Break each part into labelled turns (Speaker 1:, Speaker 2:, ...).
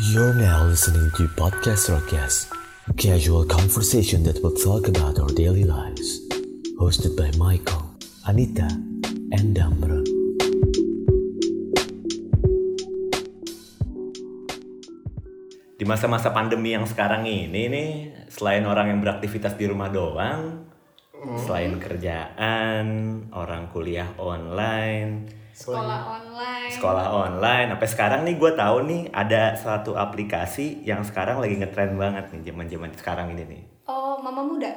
Speaker 1: You're now listening to Podcast Rockcast, a casual conversation that will talk about our daily lives. Hosted by Michael, Anita, and Damron.
Speaker 2: di masa-masa pandemi yang sekarang ini nih selain orang yang beraktivitas di rumah doang selain kerjaan orang kuliah online
Speaker 3: sekolah online
Speaker 2: sekolah online sampai sekarang nih gue tahu nih ada suatu aplikasi yang sekarang lagi ngetren banget nih zaman-zaman sekarang ini nih
Speaker 3: oh mama muda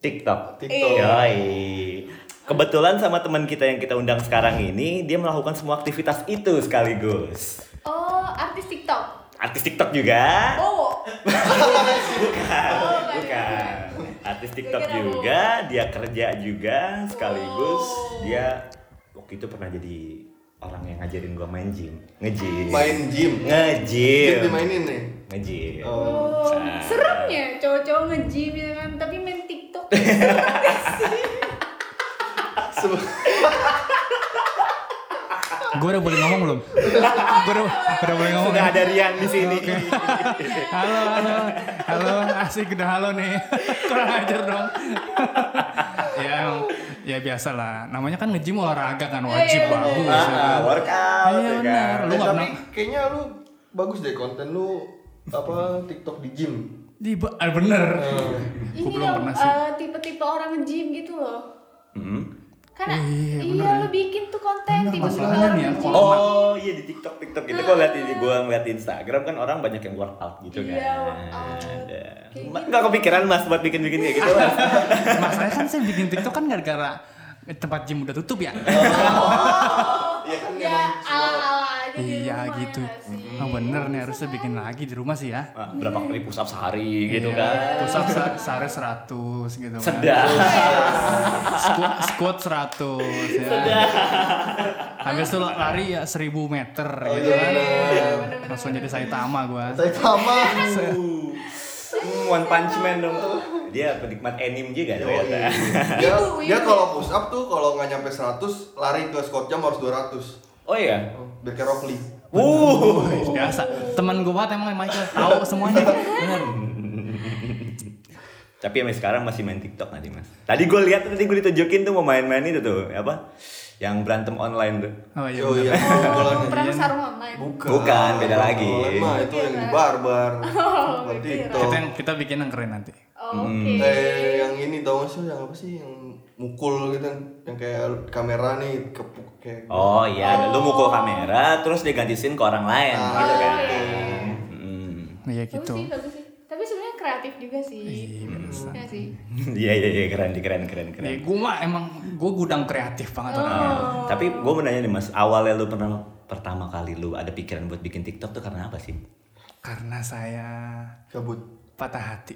Speaker 2: TikTok
Speaker 3: TikTok.
Speaker 2: Yoi. kebetulan sama teman kita yang kita undang sekarang ini dia melakukan semua aktivitas itu sekaligus
Speaker 3: oh artis tiktok
Speaker 2: artis TikTok juga
Speaker 3: oh
Speaker 2: bukan,
Speaker 3: bukan.
Speaker 2: bukan. Artis TikTok
Speaker 3: Kira-kira
Speaker 2: juga, dia kerja juga sekaligus
Speaker 3: Wow.
Speaker 2: dia waktu itu pernah jadi orang yang ngajarin gua main gym, nge-gym.
Speaker 4: main gym
Speaker 2: nge-gym.
Speaker 4: gym dimainin nih
Speaker 2: Nge-gym.
Speaker 3: oh
Speaker 2: Nah.
Speaker 3: seremnya cowok-cowok nge-gym gitu kan tapi main tiktok
Speaker 4: Se-
Speaker 5: Gue udah boleh ngomong belum? Gue udah, udah boleh ngomong
Speaker 2: Sudah
Speaker 5: kan?
Speaker 2: ada Rian di sini.
Speaker 5: Halo, halo, halo, asik udah halo nih Kurang ajar dong Ya emang, ya biasa lah Namanya kan nge-gym olahraga kan,
Speaker 3: Iya,
Speaker 5: wajib bagus
Speaker 2: Ah,
Speaker 5: ya.
Speaker 2: ah, workout
Speaker 5: Iya,
Speaker 2: ya kan.
Speaker 5: benar. Lu
Speaker 4: Eh,
Speaker 5: nggak
Speaker 4: tapi
Speaker 5: pernah-
Speaker 4: kayaknya lu bagus deh konten lu apa TikTok di gym
Speaker 5: Di, ba- ah, bener
Speaker 3: ini
Speaker 5: Gue belum
Speaker 3: dong
Speaker 5: pernah sih
Speaker 3: eh, tipe-tipe orang nge-gym gitu loh
Speaker 2: Hmm.
Speaker 3: kan
Speaker 5: Oh, iya,
Speaker 3: iya,
Speaker 5: bener ya.
Speaker 3: lo bikin tuh konten
Speaker 5: Bener,
Speaker 3: tipe-tipe
Speaker 5: masalahnya
Speaker 3: orang
Speaker 5: nih ya,
Speaker 3: nge-gym
Speaker 5: kalau-
Speaker 2: Oh iya di TikTok TikTok itu gua liat di gua ngeliat di Instagram kan orang banyak yang workout gitu kan.
Speaker 3: Iya, workout.
Speaker 2: Ada.
Speaker 3: Kayak
Speaker 2: Ma-
Speaker 3: gitu.
Speaker 2: Nggak kepikiran Mas buat bikin-bikin kayak gitu Mas.
Speaker 5: Masalahnya kan saya bikin TikTok kan gara-gara tempat gym udah tutup ya
Speaker 4: Iya kan
Speaker 3: ya
Speaker 4: emang
Speaker 3: ala-ala aja di
Speaker 5: Iya
Speaker 3: rumah, ya
Speaker 5: gitu
Speaker 3: nggak sih?
Speaker 5: Oh bener nih harusnya bikin lagi di rumah sih ya
Speaker 2: Ah, berapa kali push up sehari gitu
Speaker 5: Iya,
Speaker 2: kan.
Speaker 5: Push up se- sehari 100 gitu kan
Speaker 3: Iya.
Speaker 2: Sedap.
Speaker 5: squat, squat 100 ya. Habis itu lari ya 1000 meter
Speaker 3: Oh,
Speaker 5: gitu
Speaker 3: iya,
Speaker 5: kan. Langsung jadi Saitama gua.
Speaker 4: saya sama
Speaker 2: Hmm, One Punch Man dong tuh. Dia penikmat anime juga ternyata.
Speaker 4: dia,
Speaker 3: Ibu,
Speaker 4: dia
Speaker 3: ibu.
Speaker 4: kalau push up tuh kalau nggak nyampe 100 lari ke squat jam harus 200
Speaker 2: Oh iya.
Speaker 4: biar kayak Rock Lee
Speaker 2: Wuh.
Speaker 5: Biasa. Teman gua banget emang Michael tahu semuanya. Bener.
Speaker 2: Tapi emang sekarang masih main TikTok nggak sih mas? Tadi gue lihat tadi gue ditunjukin tuh mau main-main itu tuh apa? Yang berantem online tuh.
Speaker 5: Oh iya.
Speaker 4: oh
Speaker 5: bener.
Speaker 4: iya
Speaker 3: Oh,
Speaker 4: bola
Speaker 3: perang sarung online
Speaker 4: bukan
Speaker 2: Bukan, beda lagi.
Speaker 4: Bola mah itu yang
Speaker 3: Iya,
Speaker 4: di barbar
Speaker 3: Oh,
Speaker 4: bukan TikTok
Speaker 5: Kita yang kita bikin yang keren nanti.
Speaker 2: Mm.
Speaker 3: oke
Speaker 4: eh yang ini tau gak sih yang apa sih yang mukul gitu kan yang kayak kamera nih kepuk kayak
Speaker 2: Oh iya, lu mukul kamera terus dia ganti scene ke orang lain gitu kan. Hmm.
Speaker 5: Iya
Speaker 3: bagus
Speaker 5: gitu.
Speaker 3: sih bagus sih tapi sebenarnya kreatif juga sih iya sih
Speaker 2: Iya iya iya keren keren keren keren.
Speaker 5: Ya, gua mah emang gua gudang kreatif banget orang.
Speaker 2: Nah, tapi gue mau nanya nih mas, awalnya lu pernah pertama kali lu ada pikiran buat bikin TikTok tuh karena apa sih?
Speaker 5: Karena saya
Speaker 4: kabut
Speaker 5: patah hati.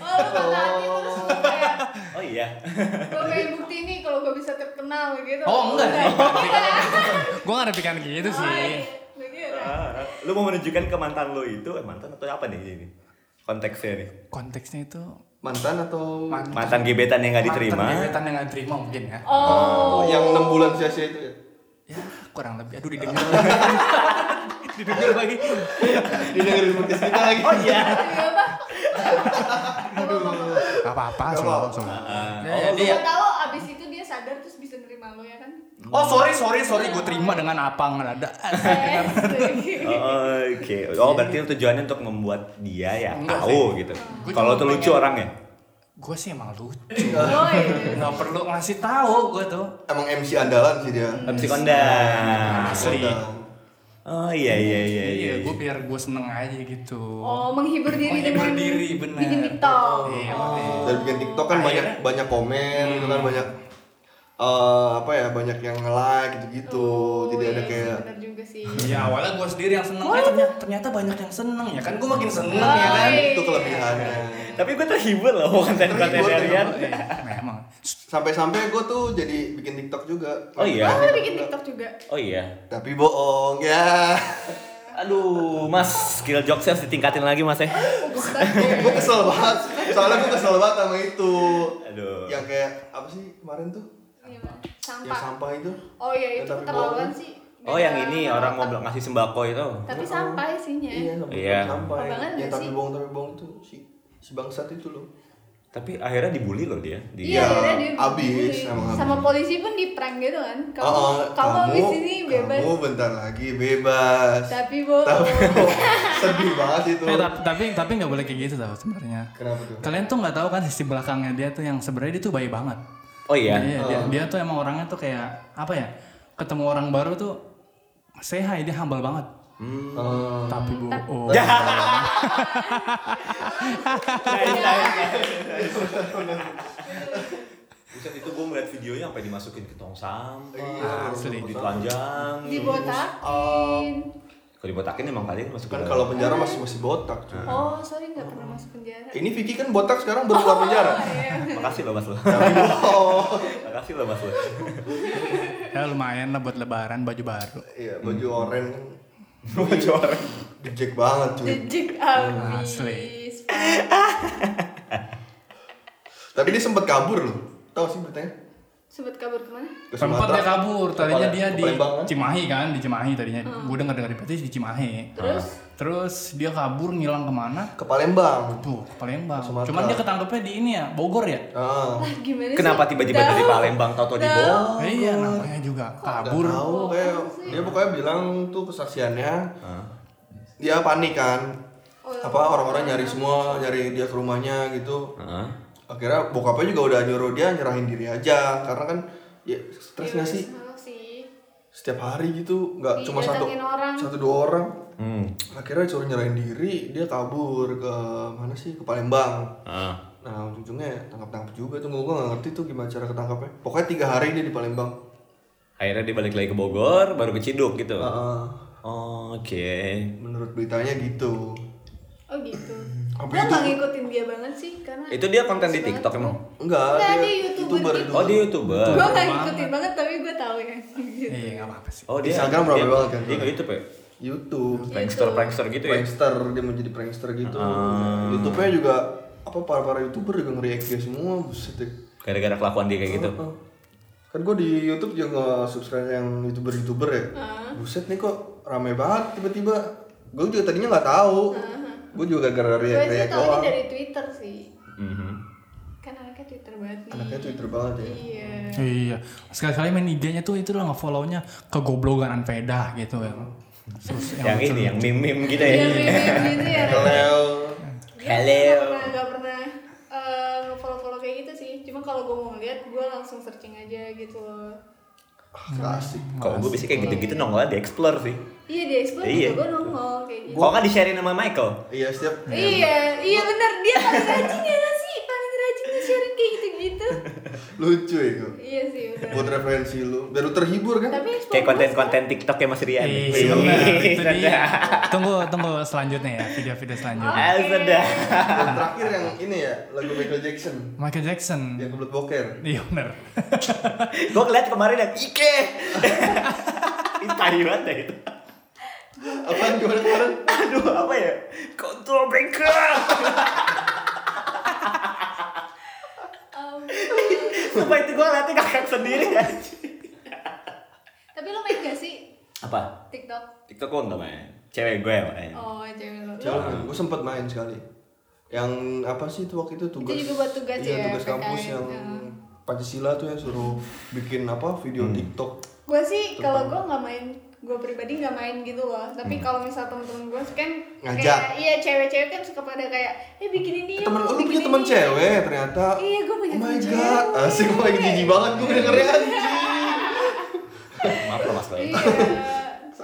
Speaker 3: oh lu patah hati terus lu kayak
Speaker 2: Oh iya.
Speaker 3: gue pengen bukti nih kalau gue bisa terkenal gitu
Speaker 5: Oh enggak.
Speaker 3: Enggak.
Speaker 5: gua gak ada pikiran gitu
Speaker 3: Iya.
Speaker 5: sih.
Speaker 3: Lu kira?
Speaker 2: Ah, lu mau menunjukkan ke mantan lu itu eh mantan atau apa nih ini konteksnya nih
Speaker 5: Konteksnya itu
Speaker 4: mantan atau
Speaker 2: mantan gebetan yang nggak diterima
Speaker 5: Mantan gebetan yang gak diterima mungkin ya.
Speaker 3: oh
Speaker 4: Oh, yang enam bulan sia-sia itu ya?
Speaker 5: ya kurang lebih aduh didengar didengar lagi
Speaker 4: Dia dengerin podcast kita lagi.
Speaker 2: oh iya
Speaker 3: iya apa
Speaker 5: gak apa-apa semua semua ya, ya, dia
Speaker 3: Siapa tahu abis itu dia sadar terus bisa nerima lo ya kan
Speaker 5: oh sorry sorry sorry gue terima dengan apa nggak ada
Speaker 3: Asik.
Speaker 2: Oh, oke oh berarti tujuannya untuk membuat dia ya
Speaker 5: Enggak
Speaker 2: tahu gitu
Speaker 5: Gua
Speaker 2: kalau
Speaker 5: cuma
Speaker 2: tuh lucu
Speaker 5: pengen-
Speaker 2: orangnya
Speaker 5: gue sih emang lucu
Speaker 3: Boy.
Speaker 5: nggak perlu ngasih tahu gue tuh
Speaker 4: Emang MC andalan sih dia.
Speaker 2: MC kondang
Speaker 5: asli
Speaker 2: oh iya iya iya iya
Speaker 5: iya gue biar gue seneng aja gitu
Speaker 3: oh menghibur diri
Speaker 5: Menghibur
Speaker 3: dengan
Speaker 5: diri, benar.
Speaker 3: bikin tiktok
Speaker 5: Iya,
Speaker 4: Dan bikin TikTok kan banyak
Speaker 5: Akhirnya-
Speaker 4: banyak komen gitu kan banyak eh, apa ya banyak yang nge-like gitu-gitu. Tidak Oh, ada kayak
Speaker 3: benar juga Oh, iya sih
Speaker 5: Iya awalnya gue sendiri yang seneng, eh, ternyata, ternyata banyak yang seneng ya kan gue makin seneng ya kan.
Speaker 3: Iya.
Speaker 4: itu kelebihannya.
Speaker 2: tapi gue terhibur loh konten konten
Speaker 4: Terhibur,
Speaker 2: Rian
Speaker 4: terhibur.
Speaker 5: Memang.
Speaker 4: Sampai-sampai gue tuh jadi bikin TikTok juga.
Speaker 2: Oh,
Speaker 5: Ya.
Speaker 2: iya?
Speaker 3: oh lu bikin tiktok juga
Speaker 2: oh iya
Speaker 4: Tapi bohong ya.
Speaker 2: aduh mas skill jokes harus ditingkatin lagi mas ya
Speaker 3: Bagus banget.
Speaker 4: gue kesel banget. Soalnya gue kesel banget sama itu.
Speaker 2: Aduh.
Speaker 4: Yang kayak apa sih kemarin tuh?
Speaker 3: Iya, Bang.
Speaker 4: Yang
Speaker 3: sampah
Speaker 4: sampah itu.
Speaker 3: oh iya itu
Speaker 4: Ya, Tapi bohong.
Speaker 3: keterlaluan sih
Speaker 2: Oh yang ini orang mau ngasih sembako itu.
Speaker 3: Tapi sampai
Speaker 4: Iya,
Speaker 3: isinya.
Speaker 4: sampai
Speaker 2: Iya.
Speaker 4: sampai.
Speaker 3: Abangan
Speaker 4: Ya
Speaker 3: gak
Speaker 4: tapi
Speaker 3: sih?
Speaker 4: bohong tapi bohong itu si si bangsat itu loh.
Speaker 2: Tapi akhirnya dibully loh dia. Di,
Speaker 4: Iya,
Speaker 3: akhirnya
Speaker 4: abis,
Speaker 3: dibully.
Speaker 4: emang abis.
Speaker 3: Sama polisi pun di prank gitu kan. Kamu
Speaker 4: Oh,
Speaker 3: kamu abis ini bebas.
Speaker 4: Kamu bentar lagi bebas.
Speaker 3: Tapi bohong.
Speaker 4: Tapi sedih banget itu.
Speaker 5: Eh, tapi tapi tapi nggak boleh kayak gitu tau sebenarnya.
Speaker 4: Kenapa tuh?
Speaker 5: Kalian tuh nggak tahu kan sisi belakangnya dia tuh yang sebenarnya dia tuh baik banget.
Speaker 2: Oh iya.
Speaker 5: Iya, dia, dia tuh emang orangnya tuh kayak apa ya? Ketemu orang baru tuh say hi, dia humble banget.
Speaker 4: Oh,
Speaker 5: Tapi bu, oh.
Speaker 2: Buset itu gue melihat videonya sampai dimasukin ke tong sampah,
Speaker 4: Iya,
Speaker 5: asli.
Speaker 2: ditelanjang.
Speaker 3: Dibotakin.
Speaker 2: Kalau dibotakin emang kalian masuk
Speaker 4: kan
Speaker 2: ke
Speaker 4: kalau penjara masih masih botak. cuy.
Speaker 3: Oh, sorry nggak pernah masuk penjara.
Speaker 4: Ini Vicky kan botak sekarang baru keluar penjara.
Speaker 2: Makasih loh mas lo.
Speaker 4: Tapi bohong.
Speaker 2: Makasih loh mas lo.
Speaker 5: Ya lumayan lah buat lebaran baju baru.
Speaker 4: Iya, baju oranye kan
Speaker 2: Gua juara.
Speaker 4: dejek banget cuy.
Speaker 3: Jejik abis.
Speaker 5: Asli.
Speaker 4: Tapi dia sempat kabur loh. Tahu sih beritanya?
Speaker 3: Sempet kabur kemana?
Speaker 4: Ke
Speaker 5: Sempat
Speaker 4: Sumatera.
Speaker 5: dia kabur, tadinya
Speaker 4: Ke
Speaker 5: dia
Speaker 4: Palem-
Speaker 5: di
Speaker 4: ke Palembang, kan?
Speaker 5: Cimahi kan, di Cimahi tadinya. Gue denger dengar di berita di Cimahi.
Speaker 4: Ah.
Speaker 3: Terus?
Speaker 5: Terus dia kabur ngilang kemana?
Speaker 4: Ke Palembang.
Speaker 5: Tuh, ke Palembang.
Speaker 4: Sumatera.
Speaker 5: Cuman dia ketangkepnya di ini ya, Bogor ya?
Speaker 4: Ah.
Speaker 3: Lah gimana sih?
Speaker 2: Kenapa tiba-tiba
Speaker 3: Tahu.
Speaker 2: dari Palembang tato di bawah?
Speaker 3: Oh.
Speaker 4: Oh,
Speaker 5: Eh, iya, namanya juga kabur.
Speaker 4: Nggak tahu kayak dia pokoknya bilang tuh kesaksiannya dia panik kan
Speaker 3: Oh, iya.
Speaker 4: apa orang-orang nyari semua nyari dia ke rumahnya gitu
Speaker 2: Heeh.
Speaker 4: akhirnya bokapnya juga udah nyuruh dia nyerahin diri aja karena kan ya stres nggak sih
Speaker 3: Malu sih.
Speaker 4: setiap hari gitu nggak cuma satu
Speaker 3: Didatengin orang.
Speaker 4: satu dua orang
Speaker 2: Hmm.
Speaker 4: akhirnya suruh nyerahin diri dia kabur ke mana sih ke Palembang
Speaker 2: Ah.
Speaker 4: nah ujung-ujungnya tangkap-tangkap juga tuh gue nggak ngerti tuh gimana cara ketangkapnya pokoknya tiga hari dia di Palembang
Speaker 2: Akhirnya dia balik lagi ke Bogor, baru ke Ciduk gitu.
Speaker 4: Heeh. ah.
Speaker 2: Oke.
Speaker 4: menurut beritanya gitu
Speaker 3: Oh gitu.
Speaker 4: Apa
Speaker 3: Gue
Speaker 4: itu?
Speaker 3: nggak ngikutin dia banget sih karena.
Speaker 2: Itu dia konten di TikTok emang.
Speaker 4: Enggak,
Speaker 3: Enggak,
Speaker 4: dia,
Speaker 3: dia YouTuber gitu.
Speaker 2: Oh, dia YouTuber.
Speaker 3: Gue nggak ngikutin banget tapi gue tahu ya. Gitu.
Speaker 5: Iya, nggak apa-apa sih.
Speaker 2: Oh, dia
Speaker 4: Instagram rame
Speaker 2: dia-
Speaker 4: banget kan?
Speaker 2: Dia ke YouTube ya?
Speaker 4: YouTube.
Speaker 2: Prankster-prankster gitu ya? Ah.
Speaker 4: Prankster, dia mau jadi prankster gitu. YouTube-nya juga apa para-para YouTuber juga nge-react dia semua, buset deh.
Speaker 2: Gara-gara kelakuan dia kayak gitu.
Speaker 4: Ah, Kan gue di YouTube juga nge-subscribe yang YouTuber-YouTuber
Speaker 3: Ah.
Speaker 4: ya. Buset nih kok rame banget tiba-tiba. Gue juga tadinya nggak tahu.
Speaker 3: Ah,
Speaker 4: Gue juga gara-gara
Speaker 3: Gue sih
Speaker 4: react-react
Speaker 3: tahu ini
Speaker 4: doang.
Speaker 3: dari Twitter sih.
Speaker 4: ah.
Speaker 2: Mhm.
Speaker 3: Kan anaknya Twitter banget nih.
Speaker 4: Anaknya Twitter banget ya.
Speaker 3: Iya.
Speaker 5: Iya, sekali-kali main IG-nya tuh itu lah nge-follow-nya kegoblogan Anveda gitu ya. Sus,
Speaker 2: Yang ini, yang meme-meme gitu ya.
Speaker 3: Iya, meme-meme gitu ya.
Speaker 4: Leo.
Speaker 3: Gak
Speaker 2: Hello.
Speaker 3: pernah, gak pernah eh, nge-follow-follow kayak gitu sih. Cuma kalau gue mau ngeliat, gue langsung searching aja gitu loh.
Speaker 4: Ah, nggak asik.
Speaker 2: Kalau gue biasanya kayak gitu-gitu nongolnya di explore sih.
Speaker 3: Iya, di explore
Speaker 2: Iya.
Speaker 3: juga gue nongol kayak gitu.
Speaker 2: Kok kan di-sharein sama Michael?
Speaker 4: Iya, setiap
Speaker 3: Iya, iya bener. Dia paling rajin ya gak sih? Paling rajin nge-sharing kayak gitu-gitu.
Speaker 4: lucu ya gue.
Speaker 3: Iya sih,
Speaker 4: Buat
Speaker 3: bener.
Speaker 4: referensi lu, biar lu terhibur kan.
Speaker 3: Tapi explore
Speaker 2: Kayak
Speaker 3: gua
Speaker 2: konten-konten TikTok ya Mas Rian.
Speaker 5: Iya,
Speaker 2: Wih,
Speaker 5: benar, itu
Speaker 2: sedap.
Speaker 5: dia. Tunggu, tunggu selanjutnya ya, video-video
Speaker 3: Oh.
Speaker 5: selanjutnya.
Speaker 2: Ah, sedap.
Speaker 4: Yang terakhir yang ini ya, lagu Michael Jackson.
Speaker 5: Michael Jackson.
Speaker 4: Yang kebelet boker.
Speaker 5: Iya bener.
Speaker 2: Gue ngeliat kemarin yang Ike. Tai banget dah itu.
Speaker 4: Apaan gimana kemarin?
Speaker 2: Aduh, apa ya? Kontrol breaker.
Speaker 3: um, Ampun.
Speaker 2: Sumpah itu gue ngeliatnya kakak sendiri aja.
Speaker 3: Tapi lo main gak sih
Speaker 2: Apa?
Speaker 3: TikTok?
Speaker 2: TikTok gue nggak main. Cewek gue yang main.
Speaker 3: Oh, cewek lo.
Speaker 4: Jangan, gue Nah, sempet main sekali. Yang apa sih itu waktu itu tugas?
Speaker 3: juga buat tugas
Speaker 4: iya,
Speaker 3: ya,
Speaker 4: tugas kampus
Speaker 3: PKN,
Speaker 4: yang
Speaker 3: ya.
Speaker 4: Pancasila tuh yang suruh bikin apa video TikTok.
Speaker 3: gue sih kalau gue nggak main gue pribadi nggak main gitu loh tapi kalau misal temen-temen gue kan
Speaker 4: Hmm. Ngajak.
Speaker 3: kayak iya cewek-cewek kan suka pada kayak eh bikin ini
Speaker 4: Eh,
Speaker 3: yuk,
Speaker 4: temen lu
Speaker 3: bikin
Speaker 4: punya
Speaker 3: ini."
Speaker 4: temen cewek ternyata.
Speaker 3: Iya, gua punya
Speaker 4: Oh my
Speaker 3: temen
Speaker 4: god,
Speaker 3: cewek.
Speaker 4: asik gue lagi jijik banget gue dengernya anjing.
Speaker 2: Maaf loh mas Roy.
Speaker 3: iya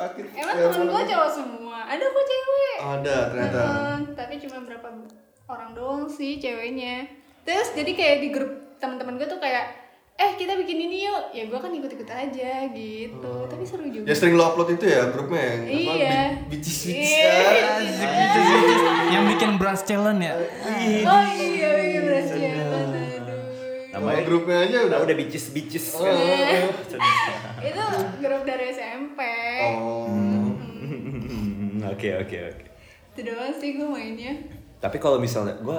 Speaker 4: Sakit.
Speaker 3: emang
Speaker 4: Ya,
Speaker 3: temen gue
Speaker 4: emang.
Speaker 3: cowok semua ada kok cewek
Speaker 4: Ada Oh, ternyata.
Speaker 3: Heeh, tapi cuma berapa orang doang sih ceweknya terus jadi kayak di grup temen-temen gue tuh kayak eh kita bikin ini yuk ya gue kan ikut-ikut aja gitu tapi seru juga
Speaker 4: Ya sering lo upload itu ya grupnya yang
Speaker 3: Iya.
Speaker 4: apa bicis bicis
Speaker 3: Iya.
Speaker 5: yang bikin brass challenge ya.
Speaker 3: oh iya iya berhasil aduh
Speaker 4: Nama
Speaker 2: Namanya
Speaker 4: grupnya aja
Speaker 2: udah
Speaker 4: udah
Speaker 2: ya? udah bicis bicis.
Speaker 4: Oh, oh,
Speaker 3: itu grup dari SMP
Speaker 4: oh.
Speaker 2: Hmm, Oke oke oke.
Speaker 3: itu doang sih gue mainnya
Speaker 2: Tapi kalau misalnya gue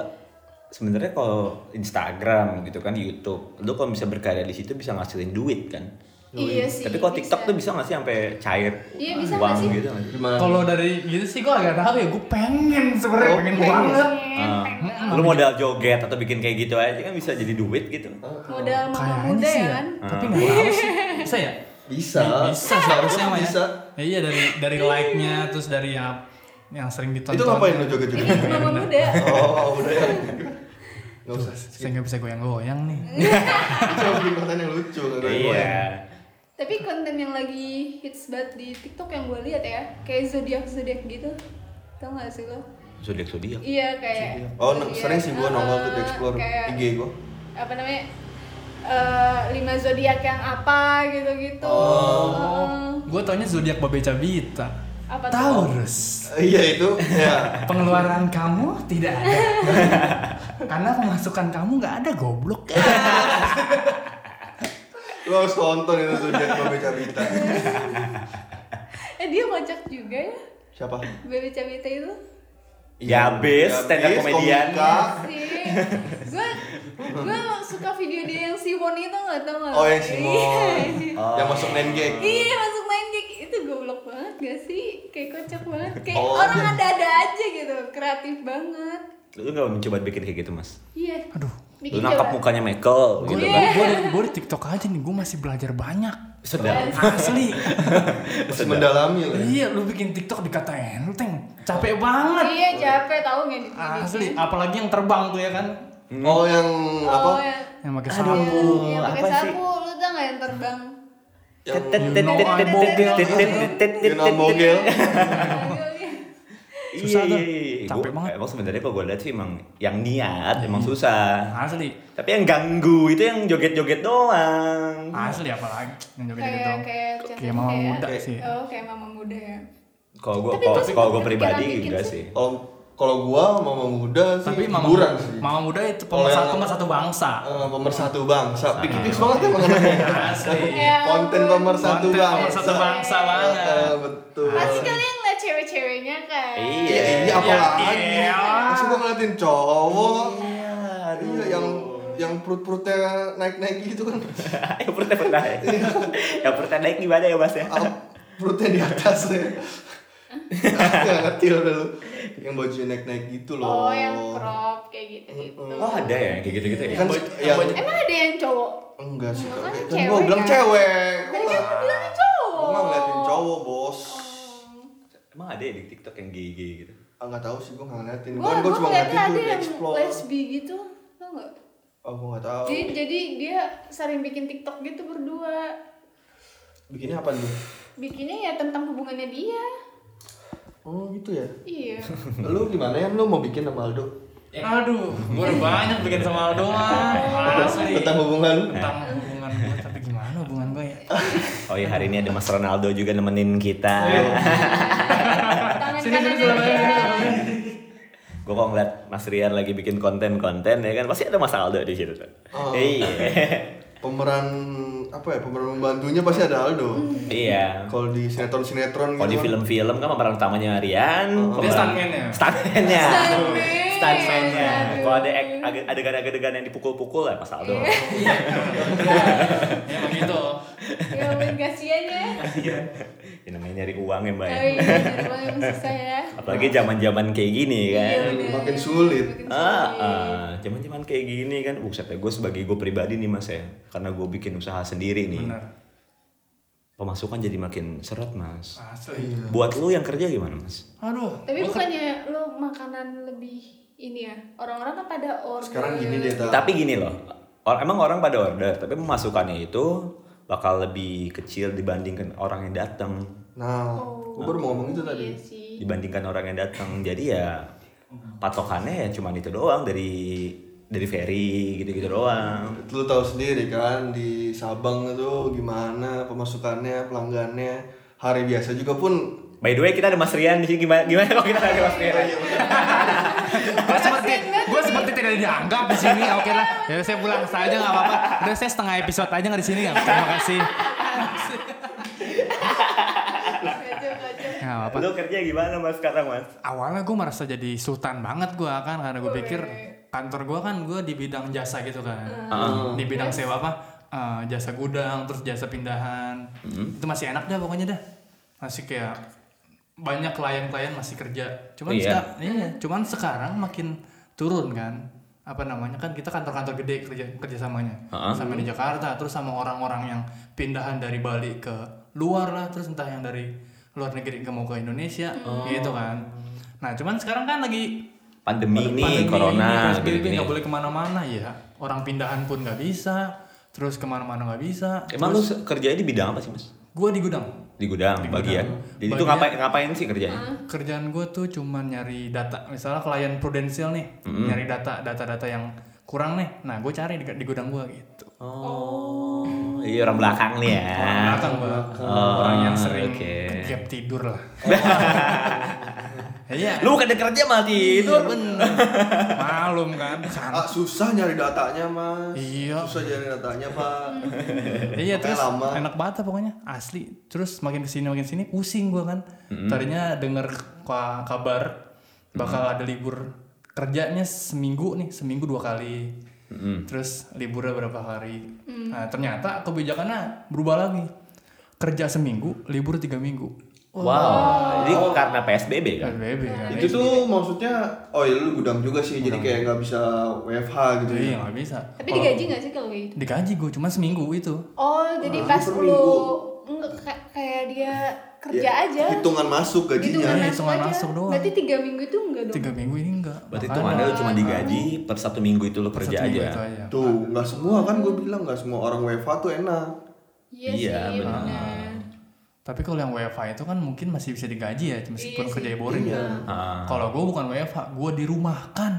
Speaker 2: sebenarnya kalau Instagram gitu kan YouTube, lu kalau bisa berkarya di situ bisa ngasilin duit kan.
Speaker 3: Iya sih.
Speaker 2: Tapi kalau TikTok
Speaker 3: bisa.
Speaker 2: tuh bisa nggak sih sampai cair
Speaker 3: Iya, bisa
Speaker 2: uang
Speaker 3: nggak sih?
Speaker 2: gitu? nggak sih?
Speaker 4: Gimana?
Speaker 5: Kalau dari gitu sih gue agak tahu ya, gue pengen sebenarnya
Speaker 4: Oh,
Speaker 5: pengen
Speaker 4: pengen.
Speaker 3: iya.
Speaker 5: banget.
Speaker 2: Ah. Lu modal joget atau bikin kayak gitu aja kan bisa jadi duit gitu.
Speaker 3: Modal mama
Speaker 5: Kayaknya
Speaker 3: muda
Speaker 5: sih
Speaker 3: ya
Speaker 5: ya,
Speaker 3: kan. Oh.
Speaker 5: tapi nggak tahu sih. Bisa ya?
Speaker 4: Bisa.
Speaker 5: Bisa seharusnya mah ya.
Speaker 4: Bisa.
Speaker 5: Ya Iya dari dari like-nya terus dari yang yang sering ditonton.
Speaker 4: Itu ngapain lu joget-joget?
Speaker 3: Ini mama muda.
Speaker 4: Oh, udah ya. Gak usah.
Speaker 5: Saya nggak bisa goyang-goyang nih.
Speaker 4: Coba bikin konten yang lucu. ya. nggak boleh.
Speaker 2: Iya.
Speaker 3: Tapi konten yang lagi hits banget di TikTok yang gue lihat ya, kayak zodiak zodiak gitu. Tau gak sih lo?
Speaker 2: Zodiak zodiak.
Speaker 3: Iya kayak.
Speaker 4: Oh,
Speaker 3: zodiak.
Speaker 4: sering sih gua nongol tuh di
Speaker 3: Eh,
Speaker 4: explore
Speaker 3: kayak-
Speaker 4: IG gua.
Speaker 3: apa namanya eh lima zodiak yang apa gitu-gitu. Eh,
Speaker 5: Oh, gue taunya zodiak babe cabita.
Speaker 3: Apa tuh?
Speaker 5: Taurus.
Speaker 4: Iya itu. Ya.
Speaker 5: Pengeluaran kamu tidak ada. Karena pemasukan kamu nggak ada goblok.
Speaker 4: Lu harus tonton itu sudah Babe Cabita.
Speaker 3: eh dia kocak juga ya,
Speaker 4: Siapa?
Speaker 3: Baby Cabita itu.
Speaker 2: Ya abis stand up
Speaker 4: Yabis,
Speaker 2: komedian.
Speaker 4: komika.
Speaker 3: sih gue gue suka video dia yang Simon itu nggak tau nggak
Speaker 4: Oh, yang
Speaker 3: Iya,
Speaker 4: Simon. Yang masuk main gig.
Speaker 3: iya masuk main gig itu goblok banget gak sih kayak kocak banget kayak
Speaker 4: Oh.
Speaker 3: orang ada-ada aja gitu kreatif banget
Speaker 2: Lu nggak mencoba bikin kayak gitu mas?
Speaker 3: iya
Speaker 5: Aduh.
Speaker 2: Lu
Speaker 3: bikin
Speaker 2: nangkap
Speaker 3: coba.
Speaker 2: mukanya Michael
Speaker 5: Gue
Speaker 2: gitu
Speaker 5: gue
Speaker 2: kan?
Speaker 5: gue di TikTok aja nih, gue masih belajar banyak.
Speaker 2: Sedang.
Speaker 5: Asli.
Speaker 4: Masih mendalami ya. lah.
Speaker 5: iya, lu bikin TikTok dikatain enteng. Capek banget.
Speaker 3: iya capek tau nggak di
Speaker 5: Asli, apalagi yang terbang tuh ya kan.
Speaker 4: Oh yang apa?
Speaker 3: oh ya
Speaker 5: Yang pakai
Speaker 2: Aduh.
Speaker 5: sarung.
Speaker 2: Sapu,
Speaker 3: yang pakai
Speaker 2: apa sih?
Speaker 3: sapu lu tau nggak yang terbang
Speaker 4: Yang Yunan Bogel.
Speaker 2: Iya,
Speaker 5: Susah
Speaker 2: iya,
Speaker 5: tuh.
Speaker 2: iya.
Speaker 5: Capek
Speaker 2: Gua-
Speaker 5: banget.
Speaker 2: Emang sebenarnya kalau gue lihat sih emang yang niat emang susah.
Speaker 5: Asli.
Speaker 2: Tapi yang ganggu itu yang joget-joget doang.
Speaker 5: Asli apalagi yang joget-joget
Speaker 3: kayak
Speaker 5: doang.
Speaker 3: kayak
Speaker 5: gitu. Kayak
Speaker 3: contohnya
Speaker 5: mama muda
Speaker 3: kayak-
Speaker 5: sih.
Speaker 3: oh kayak mama muda ya
Speaker 2: Kalau gue
Speaker 3: Tapi itu
Speaker 2: kalau gue
Speaker 3: kepikiran
Speaker 2: pribadi
Speaker 3: bikin
Speaker 2: enggak
Speaker 3: sih.
Speaker 2: sih.
Speaker 4: Kalau kalau gua mama muda sih
Speaker 5: Tapi mama,
Speaker 4: hiburan sih.
Speaker 5: mama muda itu
Speaker 4: Kalau yang-
Speaker 5: pemersatu pemersatu bangsa.
Speaker 4: Eh, pemersatu bangsa. Pikir-pikir banget ya mengenai
Speaker 5: Asli.
Speaker 3: Ya
Speaker 4: konten
Speaker 3: ampun.
Speaker 4: pemersatu
Speaker 5: Konten
Speaker 4: bangsa.
Speaker 5: pemersatu bangsa banget.
Speaker 4: Eh, betul.
Speaker 3: Pasti kalian ngeliat cewek-ceweknya kan?
Speaker 2: Iya.
Speaker 4: Iya, iya apalagi.
Speaker 5: Iya.
Speaker 4: Masih gua ngeliatin cowok. Iya, yang yang perut-perutnya naik-naik gitu kan.
Speaker 2: yang perutnya pernah. yang perutnya naik gimana ya mas ya?
Speaker 4: Up, perutnya di atas ya. Gak ngerti lah udah lu. Yang bajunya naik-naik gitu loh.
Speaker 3: Oh, yang crop kayak gitu-gitu.
Speaker 2: Oh ada ya yang kayak gitu-gitu ya.
Speaker 4: Kan yang
Speaker 3: Emang ada yang cowok?
Speaker 4: enggak sih.
Speaker 3: Emang kan
Speaker 4: Kan
Speaker 3: cewek
Speaker 4: gua bilang
Speaker 3: kan?
Speaker 4: cewek.
Speaker 3: Tadi kan
Speaker 4: Gua
Speaker 3: aku bilang
Speaker 4: gua
Speaker 3: cowok.
Speaker 4: nggak ngeliatin cowok, Bos.
Speaker 3: Oh.
Speaker 2: Emang ada ya di TikTok yang gigi gitu.
Speaker 4: Ah nggak tahu sih gua nggak ngeliatin.
Speaker 3: Gua
Speaker 4: Gua gua
Speaker 3: gua
Speaker 4: cuma
Speaker 3: ngeliatnya
Speaker 4: ngeliatin
Speaker 3: ada
Speaker 4: tuh di
Speaker 3: yang
Speaker 4: explore.
Speaker 3: lesbi gitu, tau nggak?
Speaker 4: Oh, gua nggak tahu.
Speaker 3: Jadi, jadi dia sering bikin TikTok gitu berdua.
Speaker 4: Bikinnya apa nih?
Speaker 3: Bikinnya ya tentang hubungannya dia.
Speaker 4: Oh, gitu ya.
Speaker 3: Iya.
Speaker 4: Lu gimana ya? Lu mau bikin sama Aldo?
Speaker 5: Aduh, gue udah banyak bikin sama Aldo mah. Asli.
Speaker 4: Tentang hubungan lu?
Speaker 5: Tentang hubungan gue, tapi gimana hubungan gue ya?
Speaker 2: Oh iya hari ini ada Mas Ronaldo juga nemenin kita.
Speaker 5: Iya.
Speaker 3: Tangan
Speaker 5: Sini, sini,
Speaker 3: kanannya
Speaker 5: sini,
Speaker 3: dia.
Speaker 2: Gue kalau ngeliat Mas Rian lagi bikin konten-konten ya kan pasti ada Mas Aldo di situ. tuh.
Speaker 4: Oh.
Speaker 2: Iya.
Speaker 4: pemeran apa ya pemeran membantunya pasti ada Aldo
Speaker 3: Hmm.
Speaker 2: Iya.
Speaker 4: kalau di gitu sinetron sinetron
Speaker 2: Kalau di film-film kan pemeran utamanya Rian,
Speaker 5: Oh. Dia stuntman-nya.
Speaker 2: Stuntman-nya.
Speaker 3: Stuntman.
Speaker 2: Stuntman-nya.
Speaker 3: Aduh.
Speaker 2: Kalau ada ek- ag- adegan-adegan yang dipukul-pukul ya Mas Aldo.
Speaker 5: Ya emang gitu.
Speaker 3: Ya ampun, kasihan ya.
Speaker 2: ya namanya nyari uang ya, Mbak. ya.
Speaker 3: Oh iya, jadi orang yang susah ya.
Speaker 2: Apalagi zaman-zaman kayak gini kan.
Speaker 3: Iya, bener.
Speaker 4: Makin sulit.
Speaker 3: Makin
Speaker 2: Ah,
Speaker 3: sulit.
Speaker 2: ah, zaman-zaman kayak gini kan, buset ya gue sebagai gue pribadi nih mas ya, karena gue bikin usaha sendiri nih,
Speaker 5: Benar.
Speaker 2: pemasukan jadi makin seret mas.
Speaker 5: Asli.
Speaker 2: Buat lu yang kerja gimana mas?
Speaker 5: Aduh.
Speaker 3: Tapi
Speaker 5: gua
Speaker 3: bukannya lo makanan lebih ini ya? Orang-orang kan pada order.
Speaker 4: sekarang gini deh ta
Speaker 2: Tapi gini loh, or- emang orang pada order, tapi pemasukannya itu bakal lebih kecil dibandingkan orang yang datang,
Speaker 4: nah
Speaker 3: Oh.
Speaker 4: gue baru mau ngomong itu tadi
Speaker 3: Iya sih.
Speaker 2: dibandingkan orang yang datang. Jadi ya patokannya ya cuman itu doang dari dari ferry gitu-gitu doang.
Speaker 3: Iya.
Speaker 4: lu tahu sendiri kan di Sabang itu gimana pemasukannya pelanggannya hari biasa juga pun
Speaker 2: By the way kita ada Mas Rian di sini gimana gimana kalau kita ada Mas Rian?
Speaker 5: Gue seperti, gue seperti tidak dianggap di sini. Oke lah, ya saya pulang saja nggak apa-apa. Udah saya setengah episode aja nggak di sini ya. Terima kasih.
Speaker 3: Kacau, kacau.
Speaker 5: Nggak apa-apa.
Speaker 2: Lu kerja gimana mas sekarang mas?
Speaker 5: awalnya gue merasa jadi sultan banget gue kan karena gue pikir kantor gue kan gue di bidang jasa gitu kan di bidang sewa apa eh, jasa gudang terus jasa pindahan itu masih enak dah pokoknya dah masih kayak banyak klien-klien masih kerja cuman
Speaker 2: Iya.
Speaker 5: seka- iya, cuman sekarang makin turun kan apa namanya kan kita kantor-kantor gede kerja kerjasamanya
Speaker 2: Ha-ha.
Speaker 5: sama di Jakarta terus sama orang-orang yang pindahan dari Bali ke luar lah terus entah yang dari luar negeri ke mau ke Indonesia gitu kan nah cuman sekarang kan lagi
Speaker 2: Pandemi, nih,
Speaker 5: Pandemi
Speaker 2: corona
Speaker 5: ini, PSBB
Speaker 2: gini-gini.
Speaker 5: nggak boleh kemana-mana ya orang pindahan pun nggak bisa terus kemana-mana nggak bisa
Speaker 2: Emang lu se- kerjanya di bidang apa sih mas?
Speaker 5: gue di gudang
Speaker 2: Di gudang, bagian. Jadi itu
Speaker 5: Bagian.
Speaker 2: ngapain ngapain sih kerjanya?
Speaker 5: kerjaan gue tuh cuman nyari data misalnya klien prudensial nih nyari data data-data yang kurang nih nah gue cari di, di gudang gue gitu
Speaker 2: Ah. Oh, iya orang belakang nih ya.
Speaker 5: belakang gue orang yang sering
Speaker 2: Oh, oke.
Speaker 5: ketiap tidur lah iya
Speaker 2: Lu kan bukan kerja malah
Speaker 5: itu
Speaker 2: tidur.
Speaker 5: bener malum kan
Speaker 4: Ah, susah nyari datanya, Mas.
Speaker 5: Iya.
Speaker 4: Susah nyari datanya, Pak.
Speaker 5: Iya
Speaker 3: Hmm.
Speaker 4: Makanya
Speaker 5: terus
Speaker 4: lama.
Speaker 5: enak banget lah pokoknya asli. Terus makin kesini makin sini pusing gua kan. Tadinya denger ka- kabar bakal ada libur kerjanya seminggu nih seminggu dua kali. Terus liburnya berapa hari.
Speaker 3: Mm.
Speaker 5: Nah ternyata kebijakannya berubah lagi. Kerja seminggu, libur tiga minggu.
Speaker 2: Wow. Jadi karena PSBB kan.
Speaker 5: PSBB
Speaker 3: Ya.
Speaker 5: kan.
Speaker 4: itu tuh maksudnya oh ya lu gudang juga sih jadi kayak nggak bisa WFH gitu ya
Speaker 5: Iya nggak bisa.
Speaker 3: Tapi digaji nggak sih kalau kayak gitu?
Speaker 5: Digaji gue cuma seminggu itu.
Speaker 3: Oh, jadi pas
Speaker 4: per
Speaker 3: lu
Speaker 4: minggu.
Speaker 3: enggak kayak, kayak dia kerja
Speaker 4: Ya,
Speaker 3: aja.
Speaker 4: hitungan masuk
Speaker 3: Iya. Hitungan
Speaker 4: gajinya
Speaker 5: Iya,
Speaker 3: masuk
Speaker 5: hitungan
Speaker 3: aja.
Speaker 5: masuk doang.
Speaker 3: Berarti tiga minggu itu enggak dong?
Speaker 5: Tiga minggu ini enggak.
Speaker 2: Berarti itu
Speaker 5: Makanya
Speaker 2: mana lu cuma digaji per satu minggu itu lu kerja
Speaker 5: satu minggu itu
Speaker 2: aja. ya?
Speaker 5: aja.
Speaker 4: tuh nggak semua kan gue bilang nggak semua orang WFH tuh enak
Speaker 3: Iya,
Speaker 2: Iya,
Speaker 3: sih,
Speaker 2: benar.
Speaker 3: benar.
Speaker 5: Tapi kalau yang WFH itu kan mungkin masih bisa digaji ya, meskipun
Speaker 3: Iya sih.
Speaker 5: kerjanya boring ya.
Speaker 2: Ah.
Speaker 5: Kalau gue bukan WFH, gue dirumahkan.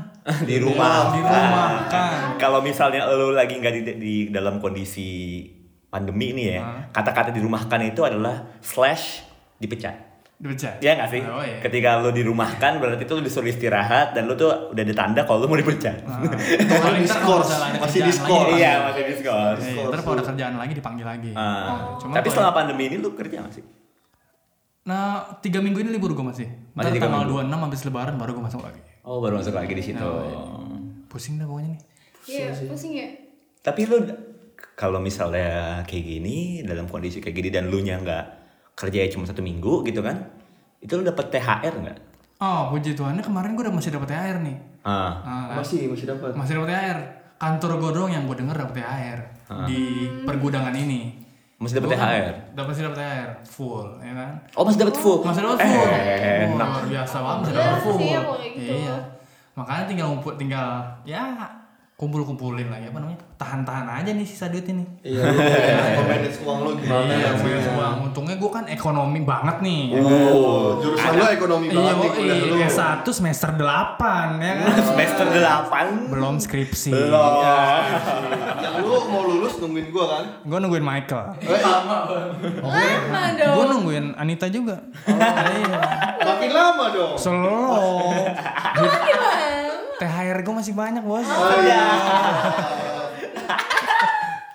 Speaker 2: di rumah. Nah,
Speaker 5: Iya, Di kan. rumahkan.
Speaker 2: Kalau misalnya lu lagi nggak di, di dalam kondisi pandemi ini ya, kata-kata dirumahkan itu adalah slash dipecat.
Speaker 5: Dipecat.
Speaker 2: Iya nggak sih?
Speaker 5: Oh, iya.
Speaker 2: Ketika lu dirumahkan berarti tuh lu disuruh istirahat dan lu tuh udah ditanda kalau lu mau dipecat.
Speaker 5: Ah. Atau
Speaker 4: Masih
Speaker 5: paling ntar kalau
Speaker 4: diskors,
Speaker 5: misalnya ada
Speaker 4: masih
Speaker 5: kerjaan
Speaker 4: diskors.
Speaker 5: lagi,
Speaker 2: iya, masih diskon.
Speaker 5: dipanggil. Iya, ntar kalau ada kerjaan lagi dipanggil lagi.
Speaker 2: Ah,
Speaker 5: Cuma
Speaker 2: Tapi
Speaker 5: kalau-
Speaker 2: selama pandemi ini lu kerja nggak sih?
Speaker 5: Nah, tiga minggu ini libur gue masih. Ntar
Speaker 2: Masih tiga
Speaker 5: tanggal 26 habis lebaran baru gue masuk lagi.
Speaker 2: Oh, baru masuk lagi di situ.
Speaker 5: Pusing dah pokoknya nih.
Speaker 3: Iya, pusing ya.
Speaker 2: Tapi lu kalau misalnya kayak gini dalam kondisi kayak gini dan lu nya nggak kerja ya cuma satu minggu gitu kan? Itu lu dapet THR nggak?
Speaker 5: Oh, puji Tuhannya kemarin gue udah masih dapet THR nih.
Speaker 2: Ah,
Speaker 5: Ah,
Speaker 4: masih masih dapat
Speaker 5: masih dapet THR. Kantor gue doang yang gue denger dapet THR.
Speaker 2: Ah.
Speaker 5: Di pergudangan ini.
Speaker 2: masih dapet
Speaker 5: Gua kan
Speaker 2: THR.
Speaker 5: Dapet masih dapet THR. Full, ya kan?
Speaker 2: Oh, masih dapet full. Eh,
Speaker 5: Masih dapat full. Wah, luar biasa banget masih dapat
Speaker 3: Alhamdulillah
Speaker 5: full.
Speaker 3: sih ya kalau kayak gitu.
Speaker 5: Iya. Makanya tinggal ngumpul tinggal ya kumpul-kumpulin lagi apa namanya? Tahan-tahan aja nih sisa duit ini.
Speaker 4: iya lu kayak memanage uang lu gimana
Speaker 5: Iya,
Speaker 4: ya
Speaker 5: punya uang. Untungnya gue kan ekonomi banget nih. ya kan?
Speaker 4: oh jurusan lu ekonomi
Speaker 5: Iya,
Speaker 4: banget nih kuliah lu
Speaker 5: iya, S1 semester 8 ya kan.
Speaker 2: Semester 8
Speaker 5: Belum skripsi.
Speaker 4: yang lu mau lulus nungguin gua kan
Speaker 5: Gue nungguin Michael.
Speaker 4: eh,
Speaker 3: Lama dong.
Speaker 5: Gue nungguin Anita juga. Iya.
Speaker 4: makin lama dong
Speaker 5: Slow.
Speaker 3: Gimana?
Speaker 5: THR gue masih banyak, Bos.
Speaker 4: oh iya